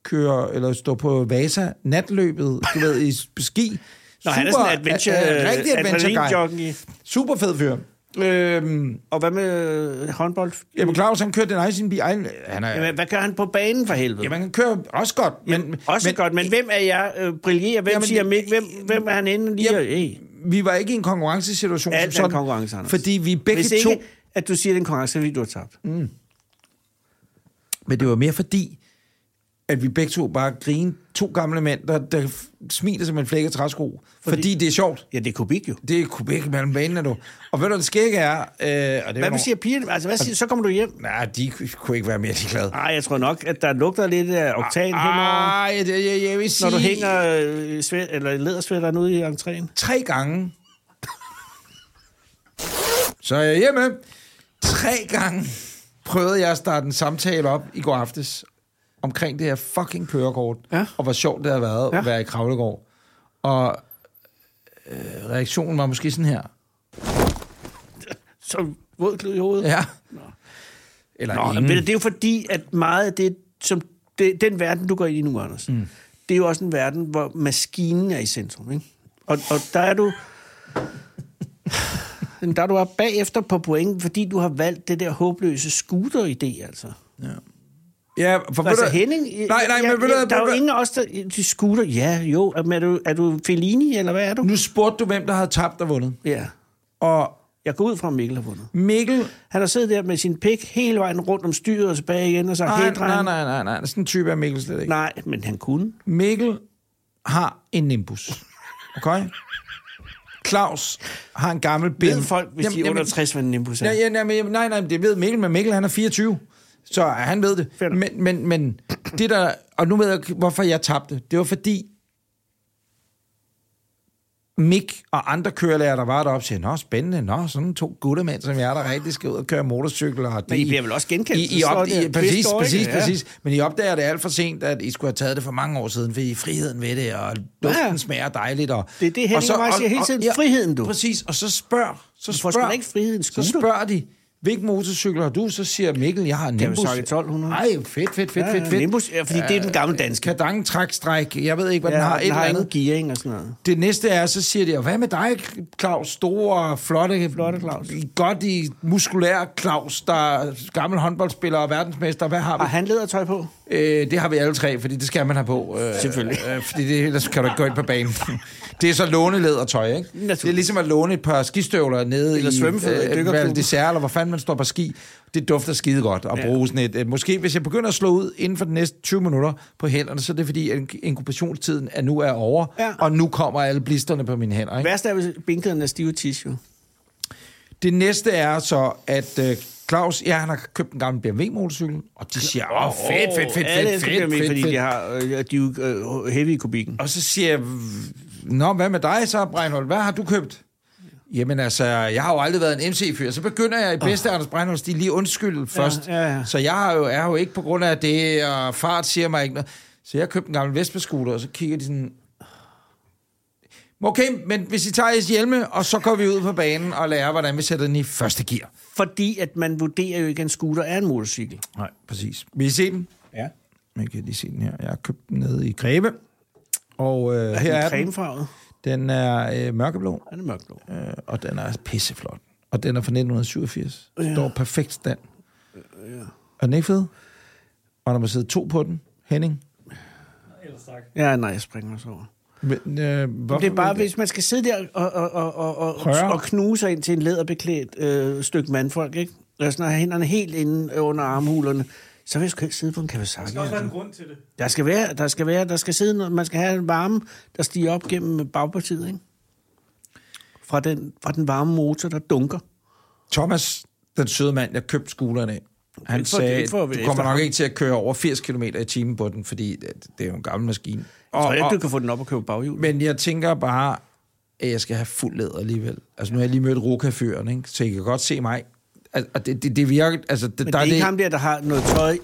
køre, eller stå på Vasa natløbet, du ved, i ski. Nå, han er sådan en adventure, øh, øh, rigtig adventure guy. adventure Super fed fyr. Øhm, Og hvad med håndbold? jamen, Claus, han kørte den egen bil. Han er, Mm. Jamen, hvad gør han på banen for helvede? jamen, han kører også godt, men... Også men, men, godt, men hvem er jeg? Øh, brillerer? Hvem jamen, Jamen, siger det- mig? Hvem, hvem er han inde lige? Jamen, Jamen, hey. vi var ikke i en konkurrencesituation E Alt er som en sådan. konkurrence, Anders. Fordi vi begge Hvis ikke, to... at du siger, at det er en konkurrence, fordi du har tabt. Men det var mere fordi, at vi begge to bare grinede. To gamle mænd, der, der f- smiler som en flække træsko. Fordi, fordi det er sjovt. Ja, det er kubik jo. Det er kubik mellem banene, du. Og ved du, hvad det skægge er... Øh, og det er jo Hvad nogle- siger pigerne? Altså, hvad siger, så kommer du hjem. Nej, de kunne ikke være mere ligeglade. Nej, jeg tror nok, at der lugter lidt af oktan Ah, henover, Ej, jeg, jeg, jeg vil sige... når du hænger øh, svæ- eller ledersvætteren ude i entréen. Tre gange. Så er jeg hjemme. Tre gange prøvede jeg at starte en samtale op i går aftes omkring det her fucking kørekort, Ja. og hvor sjovt det har været ja. Ja. at være i Kravlegård. Og øh, reaktionen var måske sådan her. Så våd klud i hovedet. Ja. Eller Nå, men det er jo fordi, at meget af det, som det, den verden, du går ind i nu, Anders, mm. det er jo også en verden, hvor maskinen er i centrum, ikke? Og, og der er du... <laughs> Men Der er du bare bagefter på pointen, fordi du har valgt det der håbløse scooter-idé, altså. Ja, for Altså ved du- Henning... Nej, nej, men ved du... Der er jo ved du- ingen af os, der... De scooter, ja, jo. Men er du, er du Fellini, eller hvad er du? Nu spurgte du, hvem der havde tabt og vundet. Ja. Og Jeg går ud fra, at Mikkel har vundet. Mikkel... Han har siddet der med sin pik hele vejen rundt om styret og tilbage igen, og så Nej, helt nej, nej, nej, nej. Sådan en type er Mikkel slet ikke. Nej, men han kunne. Mikkel har en Nimbus. Okay? Claus har en gammel BMW. Ved folk, hvis jamen, de er under 60, hvad en Nimbus er? Nej, nej, nej, nej, nej, det ved Mikkel, men Mikkel han er 24. Så han ved det. Fedt. Men, men, men det der... Og nu ved jeg, hvorfor jeg tabte. Det var fordi... Mik og andre kørelærer, der var deroppe, siger, Nå, spændende, nå, sådan to guttermænd som jeg, der rigtig skal ud og køre motorcykel. Og Men I bliver vel også genkendt, I, I, så er op, det I, et præcis, pis, dog, præcis, ikke? Ja. præcis. Men I opdager det alt for sent, at I skulle have taget det for mange år siden, fordi friheden ved det, og duften Ja. smager dejligt. Og, Det er det, Henning og så- Weiss og- siger hele og- tiden, friheden, du. Præcis, og så spørg, så får spørg, sgu da ikke friheden, så sgu da. spørger de, hvilken motorcykel har du? Så siger Mikkel, jeg har en Kawasaki Nimbus. 1200. Ej, fedt, fedt, fedt, Ja, fedt, ja, fedt. Nimbus, ja, fordi det er den gamle danske. Kadang, træk, stræk, jeg ved ikke, hvad den har, et den eller har andet. ingen gearing og sådan noget. Det næste er, så siger de, og hvad med dig, Claus? Store, flotte, flotte Claus. Godt i muskulær Claus, der er gammel håndboldspiller og verdensmester. Hvad har vi? Har han lædertøj på? Øh, det har vi alle tre, fordi det skal man have på. Øh, Selvfølgelig. Øh, fordi det, ellers kan du ikke gå ind på <laughs> banen. det er så lånelædertøj, ikke? Naturligt. Det er ligesom at låne et par skistøvler nede Eller i øh, svømmefødder i dykkerklubben. Val d'Isère, eller hvor fanden man står på ski. Det dufter skide godt at Ja. bruge sådan et. øh, Måske hvis jeg begynder at slå ud inden for de næste 20 minutter på hænderne, så er det fordi, at inkubationstiden er nu er over, Ja. og nu kommer alle blisterne på mine hænder. Ikke? Værst er, hvis binkederne er stive tissue. Det næste er så, at øh, Claus, ja, han har købt en gammel BMW-motorcykel, og de siger, åh, fedt, fedt, fedt, fedt, Alle fedt, elsker fedt, BMW, fedt, fordi fedt. de har øh, de er jo, øh, heavy i kubikken. Og så siger jeg, Nå, hvad med dig så, Breinholt? Hvad har du købt? Jamen altså, jeg har jo aldrig været en MC-fyr. Så begynder jeg i bedste oh. Anders Breinholts stil lige undskyld først. ja, ja. Så jeg har jo, er jo ikke på grund af det, og fart siger mig ikke noget. Så jeg købte en gammel Vespa-scooter, og så kigger de sådan... Okay, men hvis I tager jeres hjelme, og så går vi ud på banen og lærer, hvordan vi sætter den i første gear. Fordi at man vurderer jo ikke, at en scooter er en motorcykel. Nej, præcis. Vil I se den? Ja. Man kan lige se den her. Jeg har købt den nede i Grebe. Og øh, her Den er er den. cremefarvet. Den er øh, mørkeblå. Den er mørkblå. Øh, og den er pisseflot. Og den er fra 1987. Ja. Står perfekt stand. Ja. Øh, Er den ikke fed? Og der må sidde to på den. Henning. Ja, nej, jeg springer også over. Men, øh, hvorfor Det er bare, vil- hvis man skal sidde der og, og, og, og, og, Røre. og knuse sig ind til en læderbeklædt øh, stykke mandfolk, ikke? Og sådan at have hænderne helt inde under armhulerne, så vil jeg sgu ikke sidde på en Kawasaki. Der er også altså. en grund til det. Der skal være, der skal være, der skal sidde noget, man skal have en varme, der stiger op gennem bagpartiet, ikke? Fra den, fra den varme motor, der dunker. Thomas, den søde mand, jeg købte skulderen af, han Ikke for- sagde, ikke for at du være kommer efter nok ikke til at køre over 80 km i timen på den, fordi det, det er jo en gammel maskine. Og, Og, så ikke, og, du kan få den op og købe baghjul. men jeg tænker bare, at jeg skal have fuld læder alligevel. Altså, nu har jeg lige mødt Roka-fyren, ikke? så I kan godt se mig. Altså, og det, det, det virker... Altså, det, Men der det er ikke det, ham der, der har noget tøj.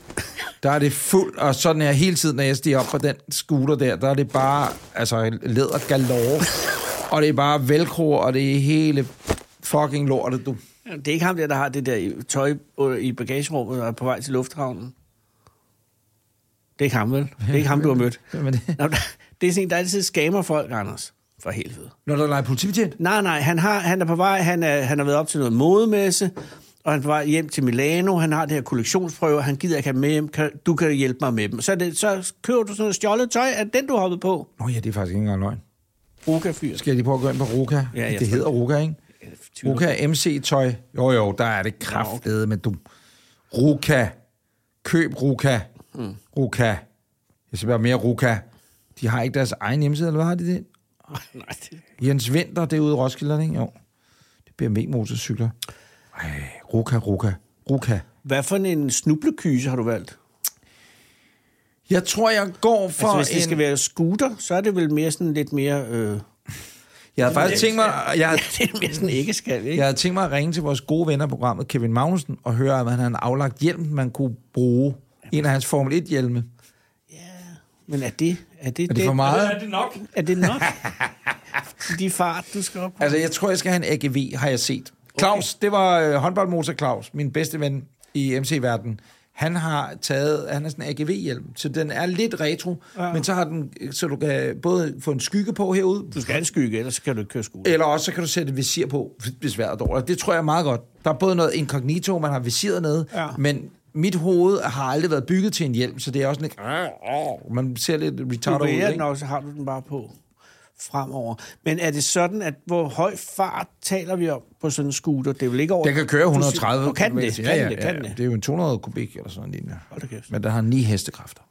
Der er det fuld, og sådan er hele tiden, når jeg stiger op på den scooter der, der er det bare, altså, læder galore, <laughs> og det er bare velcro, og det er hele fucking lortet, du. Det er ikke ham der, der har det der i- tøj øh, i bagagerummet og er på vej til lufthavnen. Det er ikke ham, vel? Det er ikke ham, du har mødt. <laughs> Hvem er det? Nå, <laughs> det er sådan en, der altid skammer folk, Anders. For helvede. Når der leger politibetjent? Nej, nej, han, har, han er på vej, han, er, han har været op til noget modemesse, og han er på vej hjem til Milano, han har det her kollektionsprøve, han gider ikke have dem med hjem, kan, du kan hjælpe mig med dem. Så, er det, så køber du sådan noget stjålet tøj, er det den, du har hoppet på? Nå ja, det er faktisk ikke engang løgn. Ruka fyr. <laughs> Skal jeg lige prøve at gå ind på Roka? jeg det tror hedder Roka, ikke? Roka MC-tøj. Jo, jo, der er det kraftede, men du... Roka. Køb Roka. Hmm. Roka. Jeg skal bare mere Roka. De har ikke deres egen hjemmeside, eller hvad har de det? Nej, det... Jens Vinter, det er ude i Roskilde, ikke? Jo. Det er BMW-motorcykler. Ej, Ruka, Ruka, Ruka. Hvad for en snublekyse har du valgt? Jeg tror, jeg går for Altså, hvis det en... skal være scooter, så er det vel mere sådan lidt mere... Øh... <laughs> Jeg havde faktisk tænkt mig... Jeg havde, det er mere sådan ikke skal, ikke? jeg Ja. havde tænkt mig at ringe til vores gode venner i programmet, Kevin Magnussen, og høre, om han havde en aflagt hjelm, man kunne bruge. En af hans Formel 1-hjelme. Men er det... Er det, Er det for meget? Er det nok? Er det nok? <laughs> De fart, du skal op på. Altså, jeg tror, jeg skal have en AGV, har jeg set. Claus, okay. det var øh, håndboldmotor Claus, min bedste ven i MC-verdenen. Han har taget, han har sådan en AGV-hjelm, så den er lidt retro, ja. men så har den, så du kan både få en skygge på herude, Du skal have en skygge, ellers kan du ikke køre scooter. Eller også så kan du sætte et visir på, hvis vejret er dårligt. Det tror jeg er meget godt. Der er både noget incognito, man har visiret nede, ja. Ja. men mit hoved har aldrig været bygget til en hjelm, så det er også sådan lidt... Man ser lidt Du retarderet ud, vælger den, ikke? og så har du den bare på fremover. Men er det sådan, at hvor høj fart taler vi om på sådan en scooter? Det er vel ikke over... Den kan køre Du- 130 du Kan den det? Kan Ja, ja, den det? ja, Kan ja. den det det? er jo en 200 kubik eller sådan en lignende. Hold da kæft. Men den har 9 hestekræfter.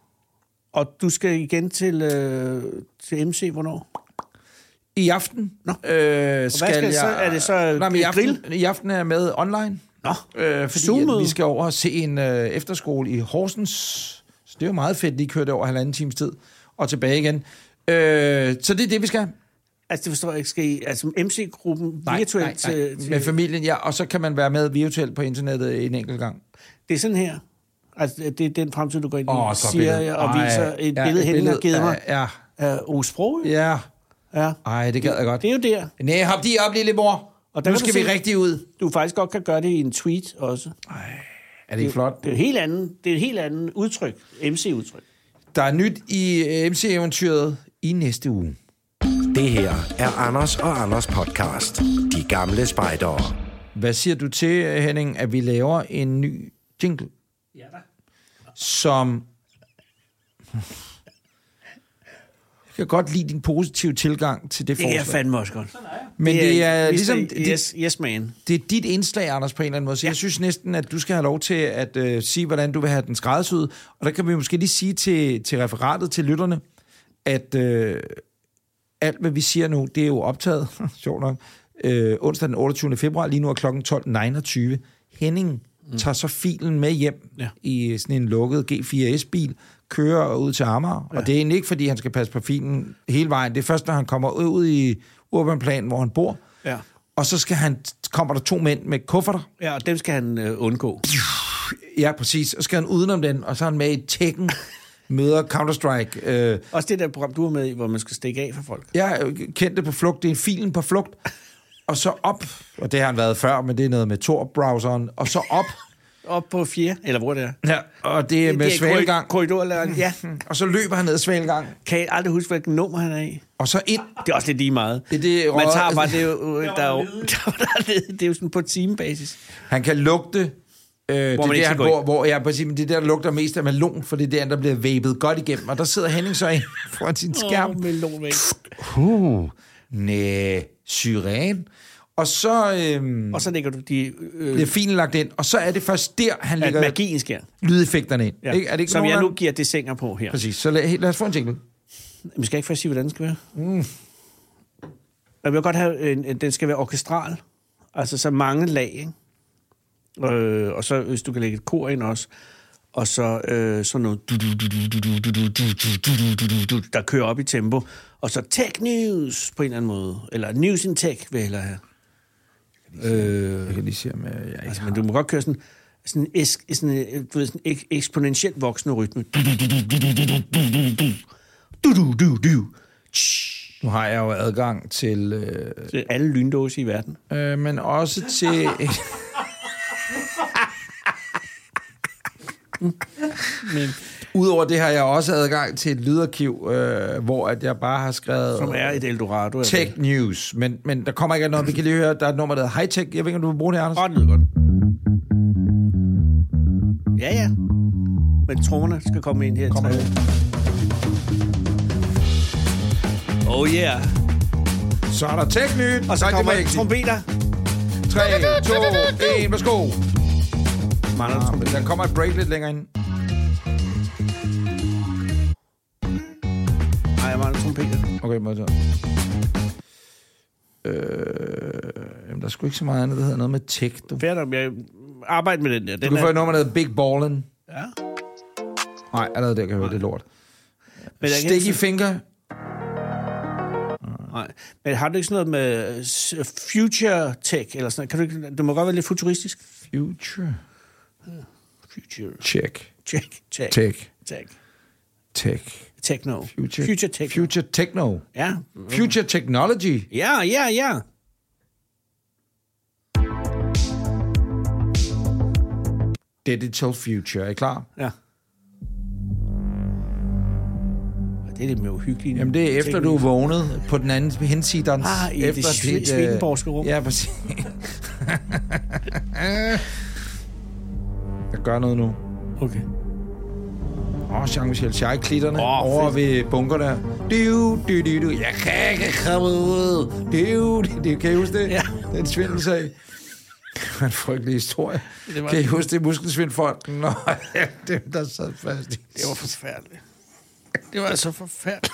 Og du skal igen til, øh, til MC, hvornår? I aften øh, skal, skal jeg... så- er det så Nej, men i et aften, grill? I aften er jeg med online. Nå, Øh, fordi Zoomet. at vi skal over og se en øh, efterskole i Horsens. Så det er jo meget fedt, lige kørte over halvanden times tid og tilbage igen. Øh, så det er det, vi skal. altså det forstår jeg ikke. Skal I, altså MC-gruppen virtuelt nej, nej. til, til Med familien, ja. Og så kan man være med virtuelt på internettet en enkelt gang. Det er sådan her. Altså, det er den fremtid, du går ind i, Åh, så siger billede. jeg, og Ej, viser et ja, billede, et Henning har billede. givet mig. Ja, af Osbro. Ja. ja. ja. Ej, det gad jeg godt. Det er jo der. Nej, hop de op, lille mor. Og der nu kan du skal vi se- rigtig ud. Du faktisk godt kan gøre det i en tweet også. Er det ikke flot? Det er et helt andet, det er et helt andet udtryk, MC-udtryk. Der er nyt i øh, MC-eventyret i næste uge. Det her er Anders og Anders podcast. De gamle spejdere. Hvad siger du til, øh, Henning, at vi laver en ny jingle? Ja da. som... Jeg kan godt lide din positive tilgang til det Det kan jeg forslag. fandme også godt. Men det er Mr. ligesom... Det, Yes, yes man. det er dit indslag, Anders, på en eller anden måde. Så ja. jeg synes næsten, at du skal have lov til at øh, sige, hvordan du vil have den skræddersyet. Og der kan vi måske lige sige til, til referatet, til lytterne, at øh, alt, hvad vi siger nu, det er jo optaget, <laughs> sjovt nok, øh, onsdag den 28. februar, lige nu er klokken 12.29. Henning mm. tager så filen med hjem ja. Ja. i sådan en lukket G4S-bil, kører ud til Amager, ja. og det er egentlig ikke, fordi han skal passe på filen hele vejen. Det er først, når han kommer ud i Urbanplan, hvor han bor, Ja. og så skal han, kommer der to mænd med kufferter. Ja, og dem skal han øh, undgå. Ja, præcis. Og så skal han udenom den, og så er han med i <laughs> Tekken, møder Counter-Strike. Øh, Også det der program, du er med i, hvor man skal stikke af for folk. jeg kendte på flugt, det er filen på flugt. Og så op, og det har han været før, men det er noget med Tor-browseren. Og så op, Op på fjerde, eller hvor det er. <laughs> ja, og det er med korri- svalgang. Korridorlæreren, ja. Og så løber han ned ad svalgang, Kan jeg aldrig huske, hvilken nummer han er i? og så ind. Det er også lidt lige meget. Det er det, Man og- tager bare, det er jo, der er jo, <laughs> der, der er ledigt. det er jo sådan på timebasis. Han kan lugte, øh, det er man ikke der, han skal gå bor, hvor jeg præcis, men det er der, der lugter mest af melon, for det er der, der bliver væbet godt igennem. Og der sidder Henning så inde <laughs> foran sin skærm. Åh, melonvæg. Puh, næh, syren. Og så øhm, Og så lægger du de, øh, bliver filen lagt ind, og så er det først der, han at lægger magien sker. lydeffekterne ind. Ja. Ikke? Er det ikke Som nogen jeg af- nu giver det sænger på her. Præcis, så lad, lad os få en jingle. Men skal jeg ikke først sige, hvordan den skal være? Mm. Jeg vil godt have, en, en- den skal være orkestral. Altså så mange lag, ikke? Øh, og så hvis du kan lægge et kor ind også. Og så øh, sådan noget, du- du- du- du- du- du- du- du- du- du- du- du- du- du- der kører op i tempo. Og så tech news på en eller anden måde. Eller news in tech, vil jeg hellere have. Øh, Jeg kan lige se, om jeg, jeg ikke Altså, men du må godt køre sådan sådan en, esk, sådan en, du ved, sådan en ek- eksponentielt voksende rytme. Du, du, du, du. Tsh. Nu har jeg jo adgang til... Øh, Det er alle lyndåse i verden. øh, men også til... Men, Udover det har jeg også adgang til et lydarkiv, øh, hvor at jeg bare har skrevet... som er et Eldorado. Tech News, men, men der kommer ikke noget. Vi kan lige høre, der er et nummer, der hedder High Tech. Jeg ved ikke, om du vil bruge det, Anders. Åh, det lyder godt. Ja, ja. Men trommerne skal komme ind her. Kommer Tre. Oh yeah. Så er der Tech Nyt. Og så kommer trompeter. 3, 2, 1, værsgo. Mangler du trompeter? Der kommer et break lidt længere ind. Nej, jeg mangler trompeter. Okay, må jeg tage. Øh, jamen, der er sgu ikke så meget andet, der hedder noget med tech. Du, Fair nok, jeg arbejder med den der. du Den kan få er, et nummer, der hedder Big Ballin. ja. Nej, allerede der kan jeg høre, det er lort. Men jeg kan Sticky ikke- Finger. Nej. Men har du ikke sådan noget med øh, s- future tech eller sådan noget? Kan du, ikke, du må godt være lidt futuristisk. Future. Future Check. tech. Tech. Tech. Tech. tech. Tech. Techno. Future. future tech. Future Techno. Ja. Future Technology. Ja, ja, ja. Digital Future. Er I klar? Ja. Og det er det med uhyggelige. Jamen, det er efter, du er vågnet på den anden hensidens. Ah, i det efter sv- dit, øh, Swedenborgske rum. Ja, præcis. Jeg gør noget nu. Okay. Åh, oh, Jean-Michel Jarre klitterne Åh, oh, over fedt. ved bunker der. Du, du, du, du. Jeg kan ikke komme ud. Du, du, du. Kan I huske det? Ja. Den svindelsag. Det var en frygtelig historie. Det var- Kan I huske det? Muskelsvindfolken <laughs> og dem, der sad fast. i- Det var forfærdeligt. Det var altså forfærdeligt.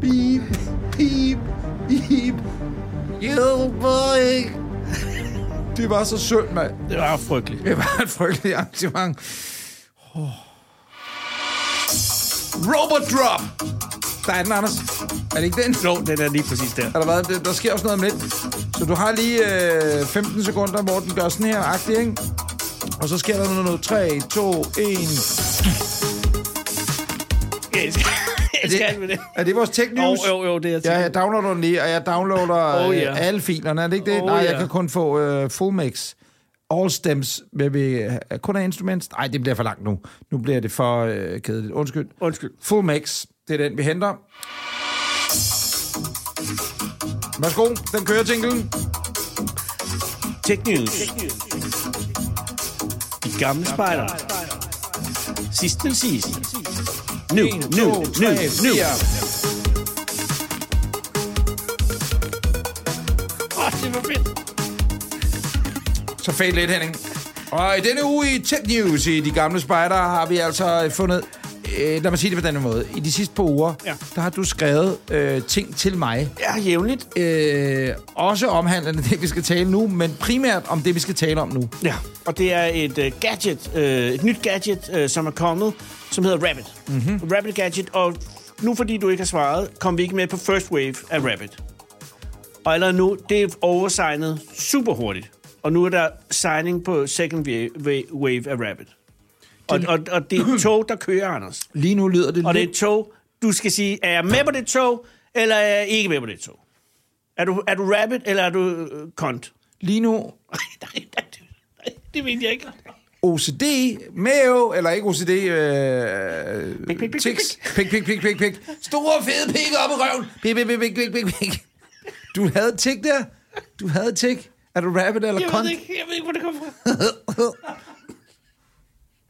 Beep, skide mig ikke. Det var så synd, mand. Det var frygteligt. Det var et frygteligt arrangement. Oh. Robot Drop! Der er den, Anders. Er det ikke den? Jo, den er lige præcis der. Har der, været, der, der sker også noget om lidt. Så du har lige øh, 15 sekunder, hvor den gør sådan her, agtig, ikke? Og så sker der noget, noget. 3, 2, 1. Jeg skal, <laughs> jeg skal med det. Er det vores tech Jo, news? jo, jo, det er jeg Ja, ja, jeg downloader den lige, og jeg downloader Oh, oh, ja. yeah. alle filerne, er det ikke det? Oh, Nej, jeg ja. kan kun få øh, full mix. All stems, vil vi øh, kun have instruments? Nej, det bliver for langt nu. Nu bliver det for øh, kedeligt. Undskyld. Undskyld. Full mix, det er den, vi henter. Værsgo, den kører, Tinklen. Tech News. De gamle spejder. Sidst til sidst. Nu, nu, nu, nu. Åh, det var fedt. Så fade lidt, Henning. Og i denne uge i Tech News i De Gamle Spejder har vi altså fundet... Øh, lad mig sige det på denne måde. I de sidste par uger, Ja. ja. der har du skrevet øh, ting til mig. Ja, jævnligt. Øh, også omhandlende det, vi skal tale nu, men primært om det, vi skal tale om nu. Ja, og det er et øh, gadget, øh, et nyt gadget, øh, som er kommet, som hedder Rabbit. Mm-hmm. Rabbit gadget, og nu fordi du ikke har svaret, kom vi ikke med på first wave af Rabbit. Og allerede nu, det er oversignet super hurtigt. Og nu er der signing på second wa- wa- wave af Rabbit. Og, og, og det er <clears throat> et tog, der kører, Anders. Lige nu lyder det Og det er lidt... et tog, du skal sige, er jeg med på det tog, eller er jeg ikke med på det tog? Er du, er du Rabbit, eller er du øh, kont? Lige nu <laughs> Nej, nej, nej, nej, det ved jeg ikke. OCD, mave, eller ikke OCD, øh, Pik, pik, pik, tics, pik, pik, pik, pik, pik, store fede pik op i røven, pik, pik, pik, pik, pik, pik, pik. Du havde tik der, du havde tik. Er du rabbit eller Jeg kont? ved ikke, jeg ved ikke, hvor det kommer fra.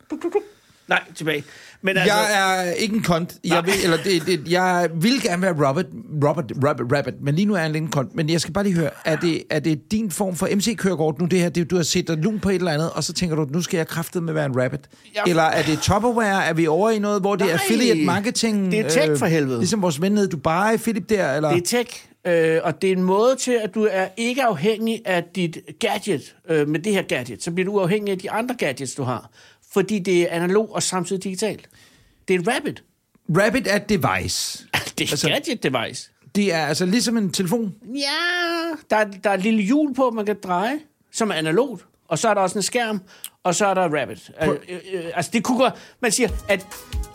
Pluk, pluk, pluk. Nej, tilbage. Men altså, Jeg er ikke en kont. Jeg, Nej. vil, eller det, det, jeg vil gerne være Robert, Robert, Robert, Rabbit, men lige nu er jeg lidt en kont. Men jeg skal bare lige høre, er det, er det din form for MC-kørekort nu, det her? Det, du har set dig lun på et eller andet, og så tænker du, nu skal jeg kraftet med være en rabbit. Jeg- Eller er det Tupperware? Er vi over i noget, hvor det Nej, er affiliate marketing? det er tech for helvede. Ligesom vores ven nede i Dubai, Philip der, eller... det er tech, øh, og det er en måde til, at du er ikke afhængig af dit gadget, øh, med det her gadget. Så bliver du afhængig af de andre gadgets, du har. Fordi det er analog og samtidig digitalt. Det er et rabbit. <laughs> Rabbit er et device. Det er altså, gadget device. Det er altså ligesom en telefon. Ja, der, er- der er et lille hjul på, man kan dreje, som er analogt. Og så er der også en skærm, og så er der Rabbit. Øh, øh, øh, altså, det kunne godt... Man siger, at...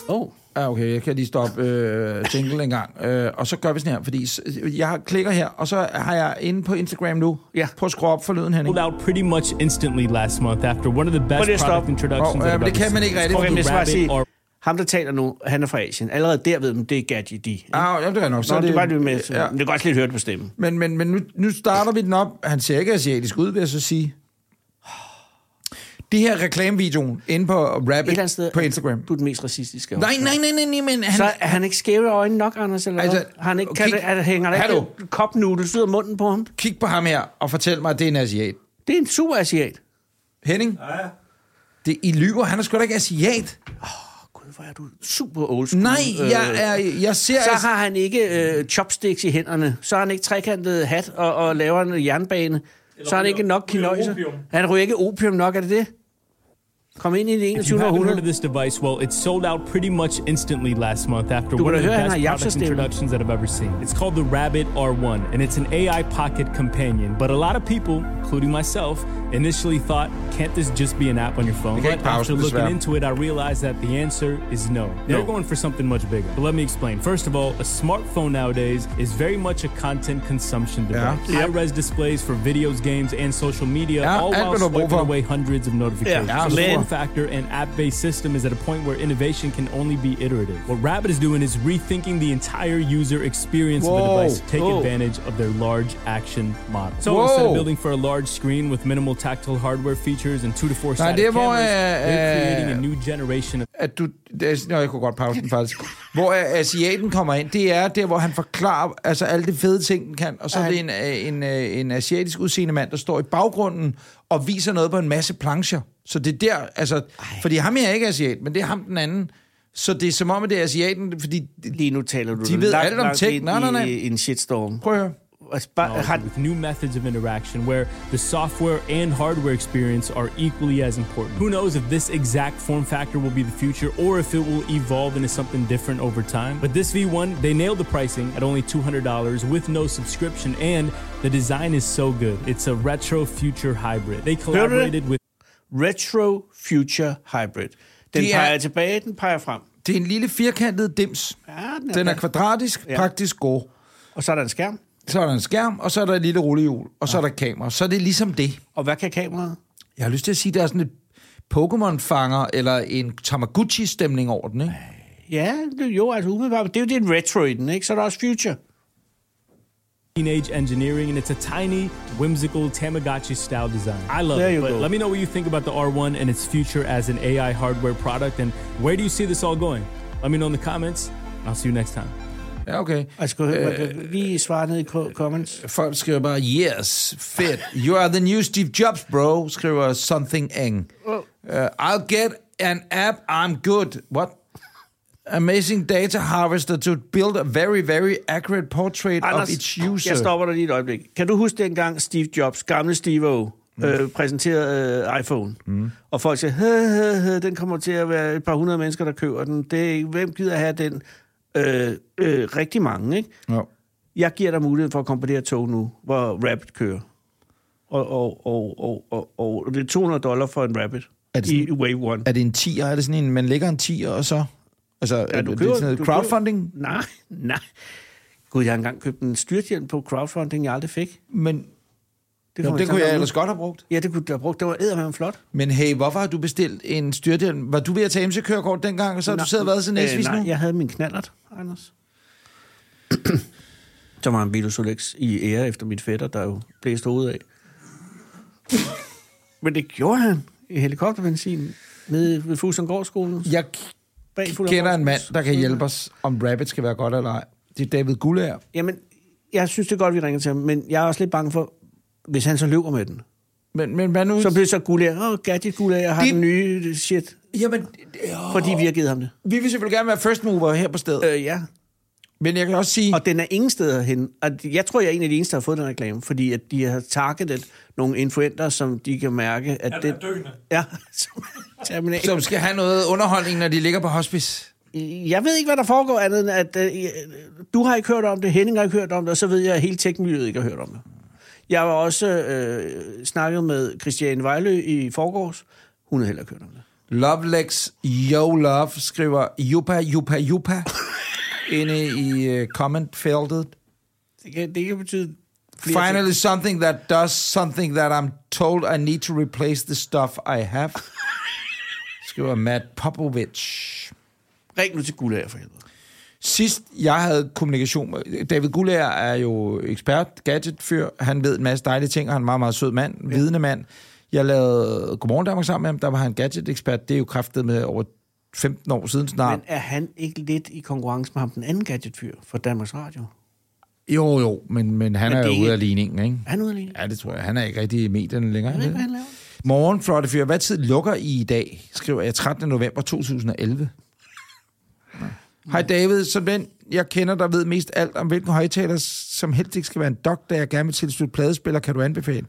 Åh, oh, Ah, okay, jeg kan lige stoppe øh, jingle en gang. Øh, og så gør vi sådan her, fordi s- jeg klikker her, og så har jeg inde på Instagram nu. Ja. Prøv at skrue op for lyden, Henning. Sold out pretty much instantly last month after one of the best Put it product stop. introductions. Og, I've øh, men ever det kan seen. man ikke rigtigt. okay, men jeg skal bare Rabbit sige, or- ham, der taler nu, han er fra Asien. Allerede der ved man, det er gadget, de. Ah, Ah, jamen, det er nok. så Nå, det, det var det med. Ja. Ja. Det kan godt lidt høre det på stemmen. Men, men, men nu, nu starter vi den op. Han ser ikke asiatisk ud, vil jeg så sige. Det her reklamevideoen inde på Et eller andet Rabbit sted... på Instagram. Du er den mest racistiske. Nej, nej, nej, nej, nej, men han... Så er han ikke skæve i øjnene nok, Anders? Eller Altså, altså, han ikke, kan, kig- det, er, hænger der Hallo. ikke kopnudels ud af munden på ham? Kig på ham her og fortæl mig, at det er en asiat. Det er en super asiat. Henning? Ja. Det, I lyver. Han er sgu da ikke asiat. Gud, hvor er du super old school. Nej, øh, jeg, er, jeg ser... Så har han ikke øh, chopsticks i hænderne. Så har han ikke trekantet hat og, og laver en jernbane. så har han ikke nok kinøjser. Han ryger ikke opium nok, er det det? Kom ind i det If you 21. haven't heard of århundrede. this device, well, it sold out pretty much instantly last month after Du kan one of the da høre, han best har product jagtsystemet. introductions that I've ever seen. It's called the Rabbit R1, and it's an AI pocket companion. But a lot of people, including myself, initially thought, can't this just be an app on your phone? Okay, But pause after this looking round. into it, I realized that the answer is no. They're going for something much bigger. But let me explain. First of all, a smartphone nowadays is very much a content consumption device. High-res displays for videos, games, and social media, Yeah, all and while little swiping buffer. away hundreds of notifications. Yeah, So the man. form factor and app-based system is at a point where innovation can only be iterative. What Rabbit is doing is rethinking the entire user experience of the Whoa. device to take Whoa. advantage of their large action model. So Whoa. instead of building for a large screen with minimal tactile hardware features and two to four static det cameras, må jeg, they're øh, creating a new generation of at du... Det er, nå, jeg kunne godt pause den faktisk. Hvor øh, asiaten kommer ind, det er der, hvor han forklarer altså, alle de fede ting, den kan. Og så er det en, øh, en, øh, en asiatisk udseende mand, der står i baggrunden og viser noget på en masse plancher. Så det er der, altså... Ej. Fordi ham her er ikke asiat, men det er ham den anden. Så det er som om, at det er asiaten, fordi... Lige nu taler du De ved langt, alt om langt tech. ind Nej, nej, nej. I, i en shitstorm. Prøv at høre. Altså, bare, har, technology with new methods of interaction where the software and hardware experience are equally as important. Who knows if this exact form factor will be the future or if it will evolve into something different over time. But this V1, they nailed the pricing at only $200 with no subscription and the design is so good. It's a retro future hybrid. They collaborated with retro future hybrid. Den Det er- peger tilbage, den peger frem. Det er en lille firkantet dims. Ja, den er Den er pla- kvadratisk, Ja. praktisk god. Og så er der en skærm. Så er der en skærm, og så er der et lille rullehjul, og så er der et kamera. Så er det ligesom det. Og hvad kan kameraet? Jeg har lyst til at sige, at der er sådan et Pokémon-fanger eller en Tamaguchi-stemning over den, ikke? Ja, det, jo, altså umiddelbart. Det er jo det er retro i den, ikke? Så er der også future. Teenage Engineering, and it's a tiny, whimsical Tamagotchi style design. I love There it. you but go. let me know what you think about the R1 and its future as an AI hardware product, and where do you see this all going? Let me know in the comments, and I'll see you next time. Ja, okay. Altså, skal du Øh, høre, man kan lige svare ned i co- comments. Folk skriver bare, yes, fedt. You are the new Steve Jobs, bro, skriver something eng. Uh, I'll get an app, I'm good. What? Amazing data harvester to build a very, very accurate portrait of its user. jeg stopper dig lige et øjeblik. Kan du huske dengang Steve Jobs, gamle Steve O, Mm. øh, præsenterede øh, iPhone? Mm. Og folk sagde, hø, hø, hø, den kommer til at være et par hundrede mennesker, der køber den. Det, er ikke- hvem gider have den? Øh, øh, rigtig mange, ikke? Ja. jeg giver dig muligheden for at komme på det her tog nu, hvor Rapid kører. Og, og, og, og, og, og det er 200 dollar for en Rapid Er det i sådan- Wave 1. Er det en 10'er? Er det sådan en, man lægger en 10'er, og så... Altså, ja, er det sådan noget crowdfunding? Køber. Nej, nej. Gud, jeg har engang købt en styrthjelm på crowdfunding, jeg aldrig fik. Det, Men kommer Nå, det i kunne tanke jeg om ellers nu. godt have brugt. Ja, det kunne du have brugt. Det var eddermame flot. Men hey, hvorfor har du bestilt en styrthjelm? Var du ved at tage MC-kørekort dengang, og så har du siddet og været sådan næsvis nej, nu? jeg havde min knallert, <clears throat> Anders. Som var en Bilosolex i ære efter min fætter, der jo <laughs> blæste hovedet af. Men det gjorde han i helikopterbenzin nede ved Fusengårdsskolen. Jeg Bag kender en Fuglsangårdsskolen. mand, der kan hjælpe os, om rabbit skal være godt eller ej. Det er David Gullager. Jamen, jeg synes, det er godt, vi ringer til ham, men jeg er også lidt bange for, hvis han så løber med den. Men, men hvad nu? Så bliver det så gulær. Åh, oh, gadget gulær, jeg har Det- det... den nye shit. Jamen, øh, Fordi vi har givet ham det. vi vil selvfølgelig gerne være first mover her på stedet. Øh. Øh, ja. Men jeg kan også sige, Og den er ingen steder hen. Og jeg tror, jeg er en af de eneste, der har fået den reklame, fordi at de har targetet nogle influenter, som de kan mærke, at det... Ja, <laughs> som terminal. som skal have noget underholdning, når de ligger på hospice. Jeg ved ikke, hvad der foregår andet end, at øh, du har ikke hørt om det, Henning har ikke hørt om det, og så ved jeg, at hele teknologiet ikke har hørt om det. Jeg var også øh, snakket med Christiane Vejlø i forgårs. Hun har heller ikke hørt om det. Lovelex Yo Love skriver Jupa, Jupa, <laughs> Jupa inde i øh, comment-feltet. Det kan, det kan betyde... flere ting. Finally something that does something that I'm told I need to replace the stuff I <laughs> have. Skriver Matt Popovich. Ring nu til Gulager for helvede. Sidst jeg havde kommunikation med... David Gullager er jo ekspert, gadgetfyr. Han ved en masse dejlige ting, og han er en meget, meget sød mand, ja. vidende mand. Jeg lavede Godmorgen Danmark sammen med ham, der var han gadget-ekspert. Det er jo kraftet med over 15 år siden snart. Men er han ikke lidt i konkurrence med ham, den anden gadgetfyr fra Danmarks Radio? Men, jo, jo, men, men han men er det jo er ude ikke- af ligningen, ikke? Er han ude alene? Ja, det tror jeg. Han er ikke rigtig i medierne længere. Jeg vel? ved ikke, hvad han laver. Morgen, flotte fyr. Hvad tid lukker I i dag? Skriver jeg 13. november 2011. Nå. Hej David, som den jeg kender, der ved mest alt om hvilken højtaler, som helst ikke skal være en dok, da jeg gerne vil tilslutte pladespiller, kan du anbefale?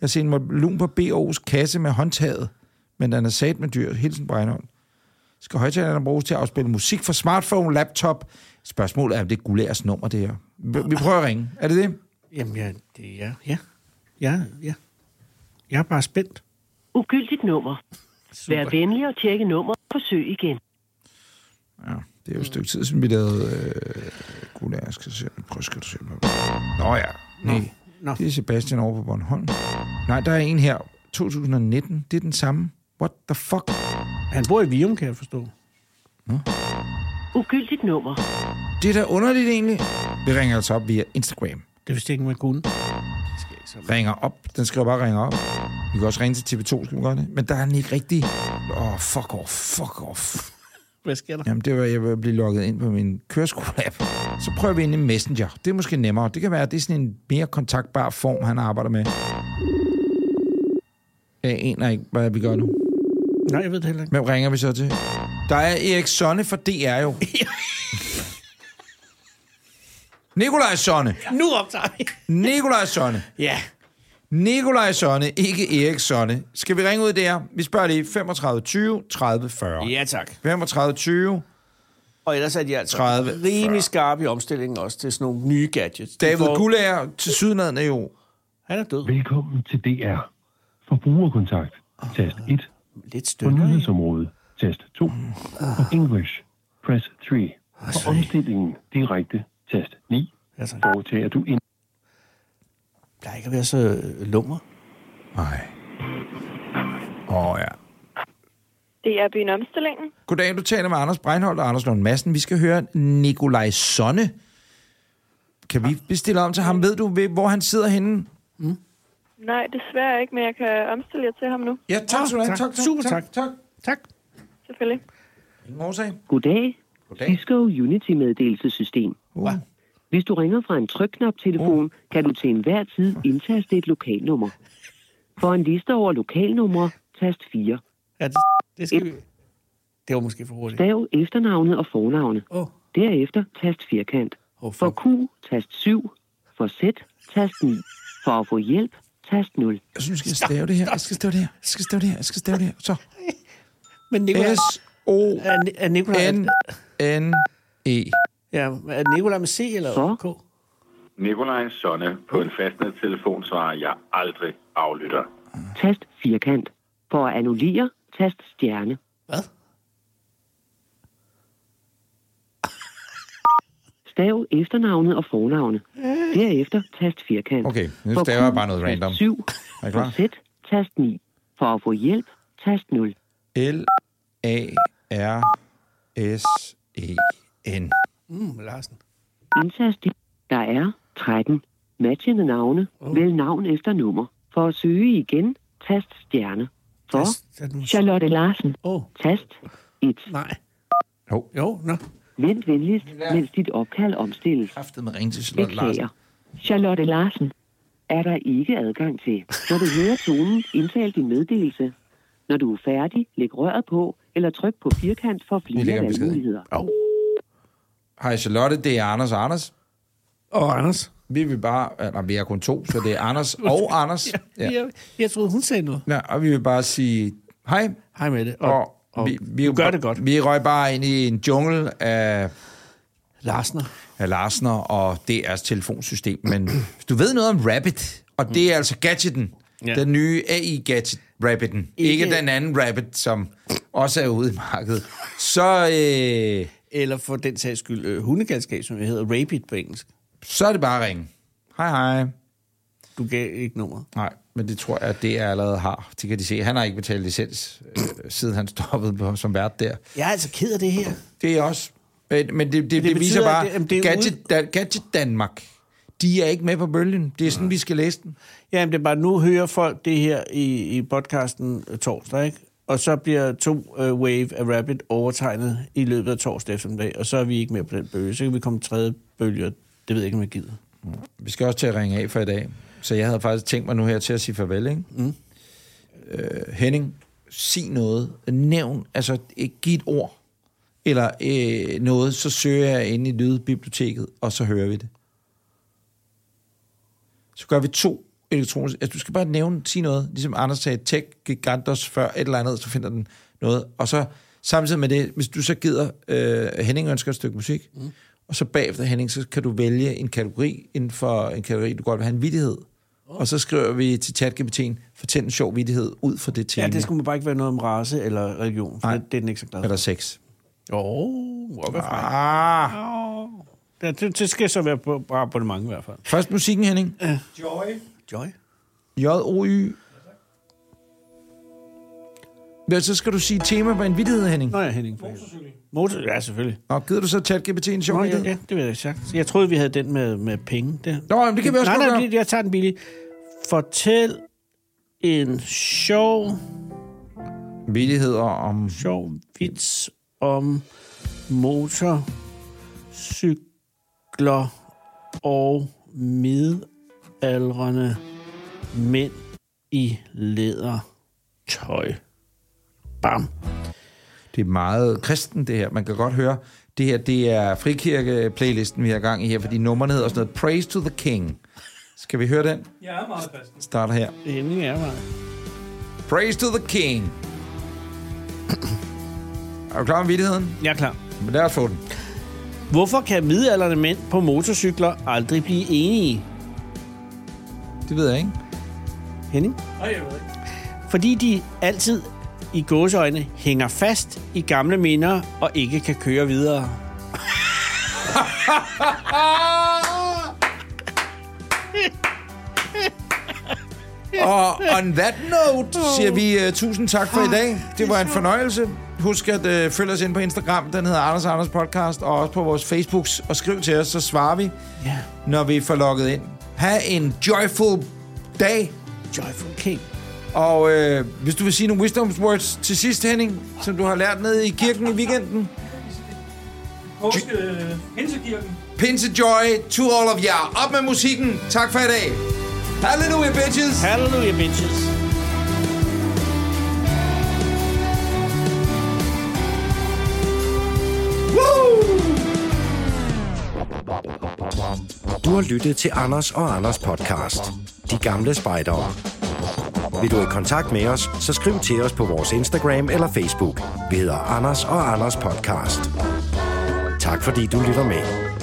Jeg ser en lun på BO's kasse med håndtaget, men den er sat med dyr. Hilsen Brejnholm. Skal højtalerne bruges til at afspille musik fra smartphone, laptop? Spørgsmålet er, om det er Gulærs nummer, det her. Vi- Vi prøver at ringe. Er det det? Jamen, ja, det er... Ja. ja. Ja, ja. Jeg er bare spændt. Ugyldigt nummer. Vær venlig og tjekke nummer. Forsøg igen. Ja, det er jo et stykke tid, siden vi lavede øh, gulag. Jeg skal se, prøv skal du se på. Nå ja, nej. Nå. Det er Sebastian over på Bornholm. Nej, der er en her. 2019, det er den samme. What the fuck? Han bor i Vium, kan jeg forstå. Ugyldigt nummer. Det er da underligt egentlig. Vi ringer altså op via Instagram. Det vidste jeg ikke, man kunne. Ringer op. Den skriver bare, ringer op. Vi kan også ringe til TV2, skal vi gøre det? Men der er den ikke rigtig. Åh, oh, fuck off, fuck off. Hvad sker der? Jamen, det var, jeg vil blive logget ind på min køreskoleapp. Så prøver vi ind i Messenger. Det er måske nemmere. Det kan være, at det er sådan en mere kontaktbar form, han arbejder med. Jeg aner ikke, hvad vi gør nu. Nej, jeg ved det heller ikke. Hvem ringer vi så til? <laughs> Der er Erik Sonne fra DR jo. Nikolaj Sonne. Nu optager vi. Nikolaj Sonne. Ja. Nikolaj Sonne, ikke Erik Sonne. Skal vi ringe ud der? Vi spørger lige 35 20 30 40. Ja, tak. 35 20. Og ellers er de altså 30, 30, 40. rimelig skarpe i omstillingen også til sådan nogle nye gadgets. De David får- Gullager til sydenlandet jo. Han er død. Velkommen til DR. Forbrugerkontakt. Tast 1. Lidt På stønder. ikke? nyhedsområdet. Tast 2. For Ah. English. Press 3. For omstillingen direkte. Tast 9. Ja, tak. Foretager du ind. Der er ikke at være så øh, lummer. Nej. Åh oh, ja. Det er byen Omstillingen. Goddag, du taler med Anders Breinholt og Anders Lund Madsen. Vi skal høre Nikolaj Sonne. Kan vi bestille om til ham? Ved du, ved- hvor han sidder henne? Nej, desværre ikke, men jeg kan omstille jer til ham nu, Ja, tak skal du have. tak. Tak, tak, Super, tak. tak. Tak. selvfølgelig. Ingen årsag. Goddag. Goddag. Cisco Unity meddelelsessystem. Uh. Hvis du ringer fra en trykknap-telefon, kan du til enhver tid indtaste et lokalnummer. For en liste over lokalnumre, tast 4. Ja, det, det skal vi... Det var måske for hurtigt. Stav efternavnet og fornavnet. Åh, oh, Derefter tast firkant. oh, For fuck. Q, tast 7. For Z, tast 9. For at få hjælp, tast 0. Jeg synes, jeg skal stave det her. Jeg skal stave det her. Jeg skal stave det her. Jeg skal stave det her. Så. Men Nicolaj... S O Er, Ni- er Nicolaj... N N E. Ja, er Nicolaj med C eller Så? K? Nikolaj Sonne på en fastnet telefon svarer, jeg aldrig aflytter. Tast firkant. For at annullere, tast stjerne. Hvad? Stav efternavnet og fornavnet. Derefter tast firkant. Okay, nu For staver jeg Q, bare noget tast random. 7. Er I For klar? Z, tast 9. For at få hjælp, tast 0. L A R S E N. Mm, Larsen. Indtast de- Der er 13. Matchende navne. Vælg navn efter nummer. For at søge igen, tast stjerne. For Tast- er den- Charlotte Larsen. Åh, oh, Tast 1. nej. Jo. Jo, nå. Vent venligst, mens dit opkald omstilles. Kræftet med ringe til Charlotte Larsen. Beklager. Charlotte Larsen er der ikke adgang til. Når du hører tonen, indtal din meddelelse. Når du er færdig, læg røret på, eller tryk på firkant for lægger flere en besked. valgmuligheder. Hej Charlotte, det er Anders og Anders. Og Anders. Vi vil bare... Altså, vi er kun to, så det er Anders <laughs> og Anders. Ja. Jeg, jeg troede, hun sagde noget. Ja, og vi vil bare sige hej. Hej med det. Og, og vi, vi, du gør det godt. Vi røg bare ind i en jungle af, Larsner. af Larsner og DR's telefonsystem. Men hvis du ved noget om Rabbit, og det er altså gadgeten, ja. Ja. den nye AI-gadget, Rabbiten, ikke. Ikke- ikke den anden Rabbit, som også er ude i markedet, så, øh, Eller for den sags skyld, øh, hundegalskab, som jeg hedder, Rapid på engelsk. så er det bare at ringe. Hej hej. Du gav ikke nummeret. Nej, men det tror jeg, at DR allerede har. Det kan de se. Han har ikke betalt licens, øh, siden han stoppede på, som vært der. Jeg er altså ked af det her. Det er også. Men, men det, det, det, det betyder, viser bare, at det- det, jamen, det det er gadget, da, gadget Danmark, de er ikke med på bølgen. Det er sådan, vi skal læse den. Jamen, det er bare, nu hører folk det her i, i podcasten øh, torsdag, ikke? Og så bliver to uh, wave af Rabbit overtegnet i løbet af torsdag eftermiddag, og så er vi ikke med på den bølge. Så kan vi komme tredje bølge, og det ved jeg ikke, om jeg gider. Vi skal også til at ringe af for i dag. Så jeg havde faktisk tænkt mig nu her til at sige farvel, ikke? Mm. Øh, Henning, sig noget. Nævn, altså eh, giv et ord. Eller øh, noget, så søger jeg inde i lydbiblioteket, og så hører vi det. Så gør vi to elektroniske... Altså, du skal bare nævne, sige noget. Ligesom Anders sagde, tech gigantos før et eller andet, så finder den noget. Og så samtidig med det, hvis du så gider, øh, Henning ønsker et stykke musik, mm. og så bagefter Henning, så kan du vælge en kategori inden for en kategori, du godt vil have en vittighed. Og så skriver vi til ChatGPT'en, fortæl en sjov vittighed ud fra det tema. Ja, det skulle bare ikke være noget om race eller religion, for Nej. det, det er den ikke så glad Eller for. sex. Åh, oh, ah. Ah. ja, det, det, skal så være på, på abonnement i hvert fald. Først musikken, Henning. Joy. J-O-Y. Ja, så skal du sige tema på en vittighed, Henning. Nå ja, Henning. Motorcykel. Motor, ja, selvfølgelig. Nå, gider du så ChatGPT en sjov Nå, vittighed? ja, ja, det ved jeg ikke sagt. Jeg troede, vi havde den med, med penge. Der. Nå, men det kan vi også nej, godt nej, gøre. det- jeg tager den billige. Fortæl en sjov, vittigheder om... sjov vits om motorcykler og midaldrende mænd i lædertøj. Bam. Det det er meget kristen, det her. Man kan godt høre, det her det er frikirke-playlisten, vi har gang i her, fordi nummerne hedder sådan noget Praise to the King. Skal vi høre den? Jeg er meget kristen. Starter her. Henning er bare. Praise to the King. Er du klar med vidtigheden? Jeg er klar. Men lad os få den. Hvorfor kan midalderne mænd på motorcykler aldrig blive enige? Det ved jeg ikke. Henning? Fordi de altid i gåseøjne hænger fast i gamle minder og ikke kan køre videre. Og on that note siger vi uh, tusind tak for i dag. Det var en fornøjelse. Husk at uh, følge os ind på Instagram. Den hedder Anders Anders Podcast. Og også på vores Facebooks. Og skriv til os, så svarer vi, Ja, når vi får logget ind. Ha' en joyful dag. Joyful King. Og øh, hvis du vil sige nogle wisdom words til sidst, Henning, som du har lært nede i kirken i weekenden. Påske, Pinsekirken. Pinse joy to all of jer. Op med musikken. Tak for i dag. Hallelujah, bitches. Hallelujah, bitches. Du har lyttet til Anders og Anders podcast. De gamle spejdere. Vil du i kontakt med os, så skriv til os på vores Instagram eller Facebook. Vi hedder Anders og Anders podcast. Tak fordi du lytter med.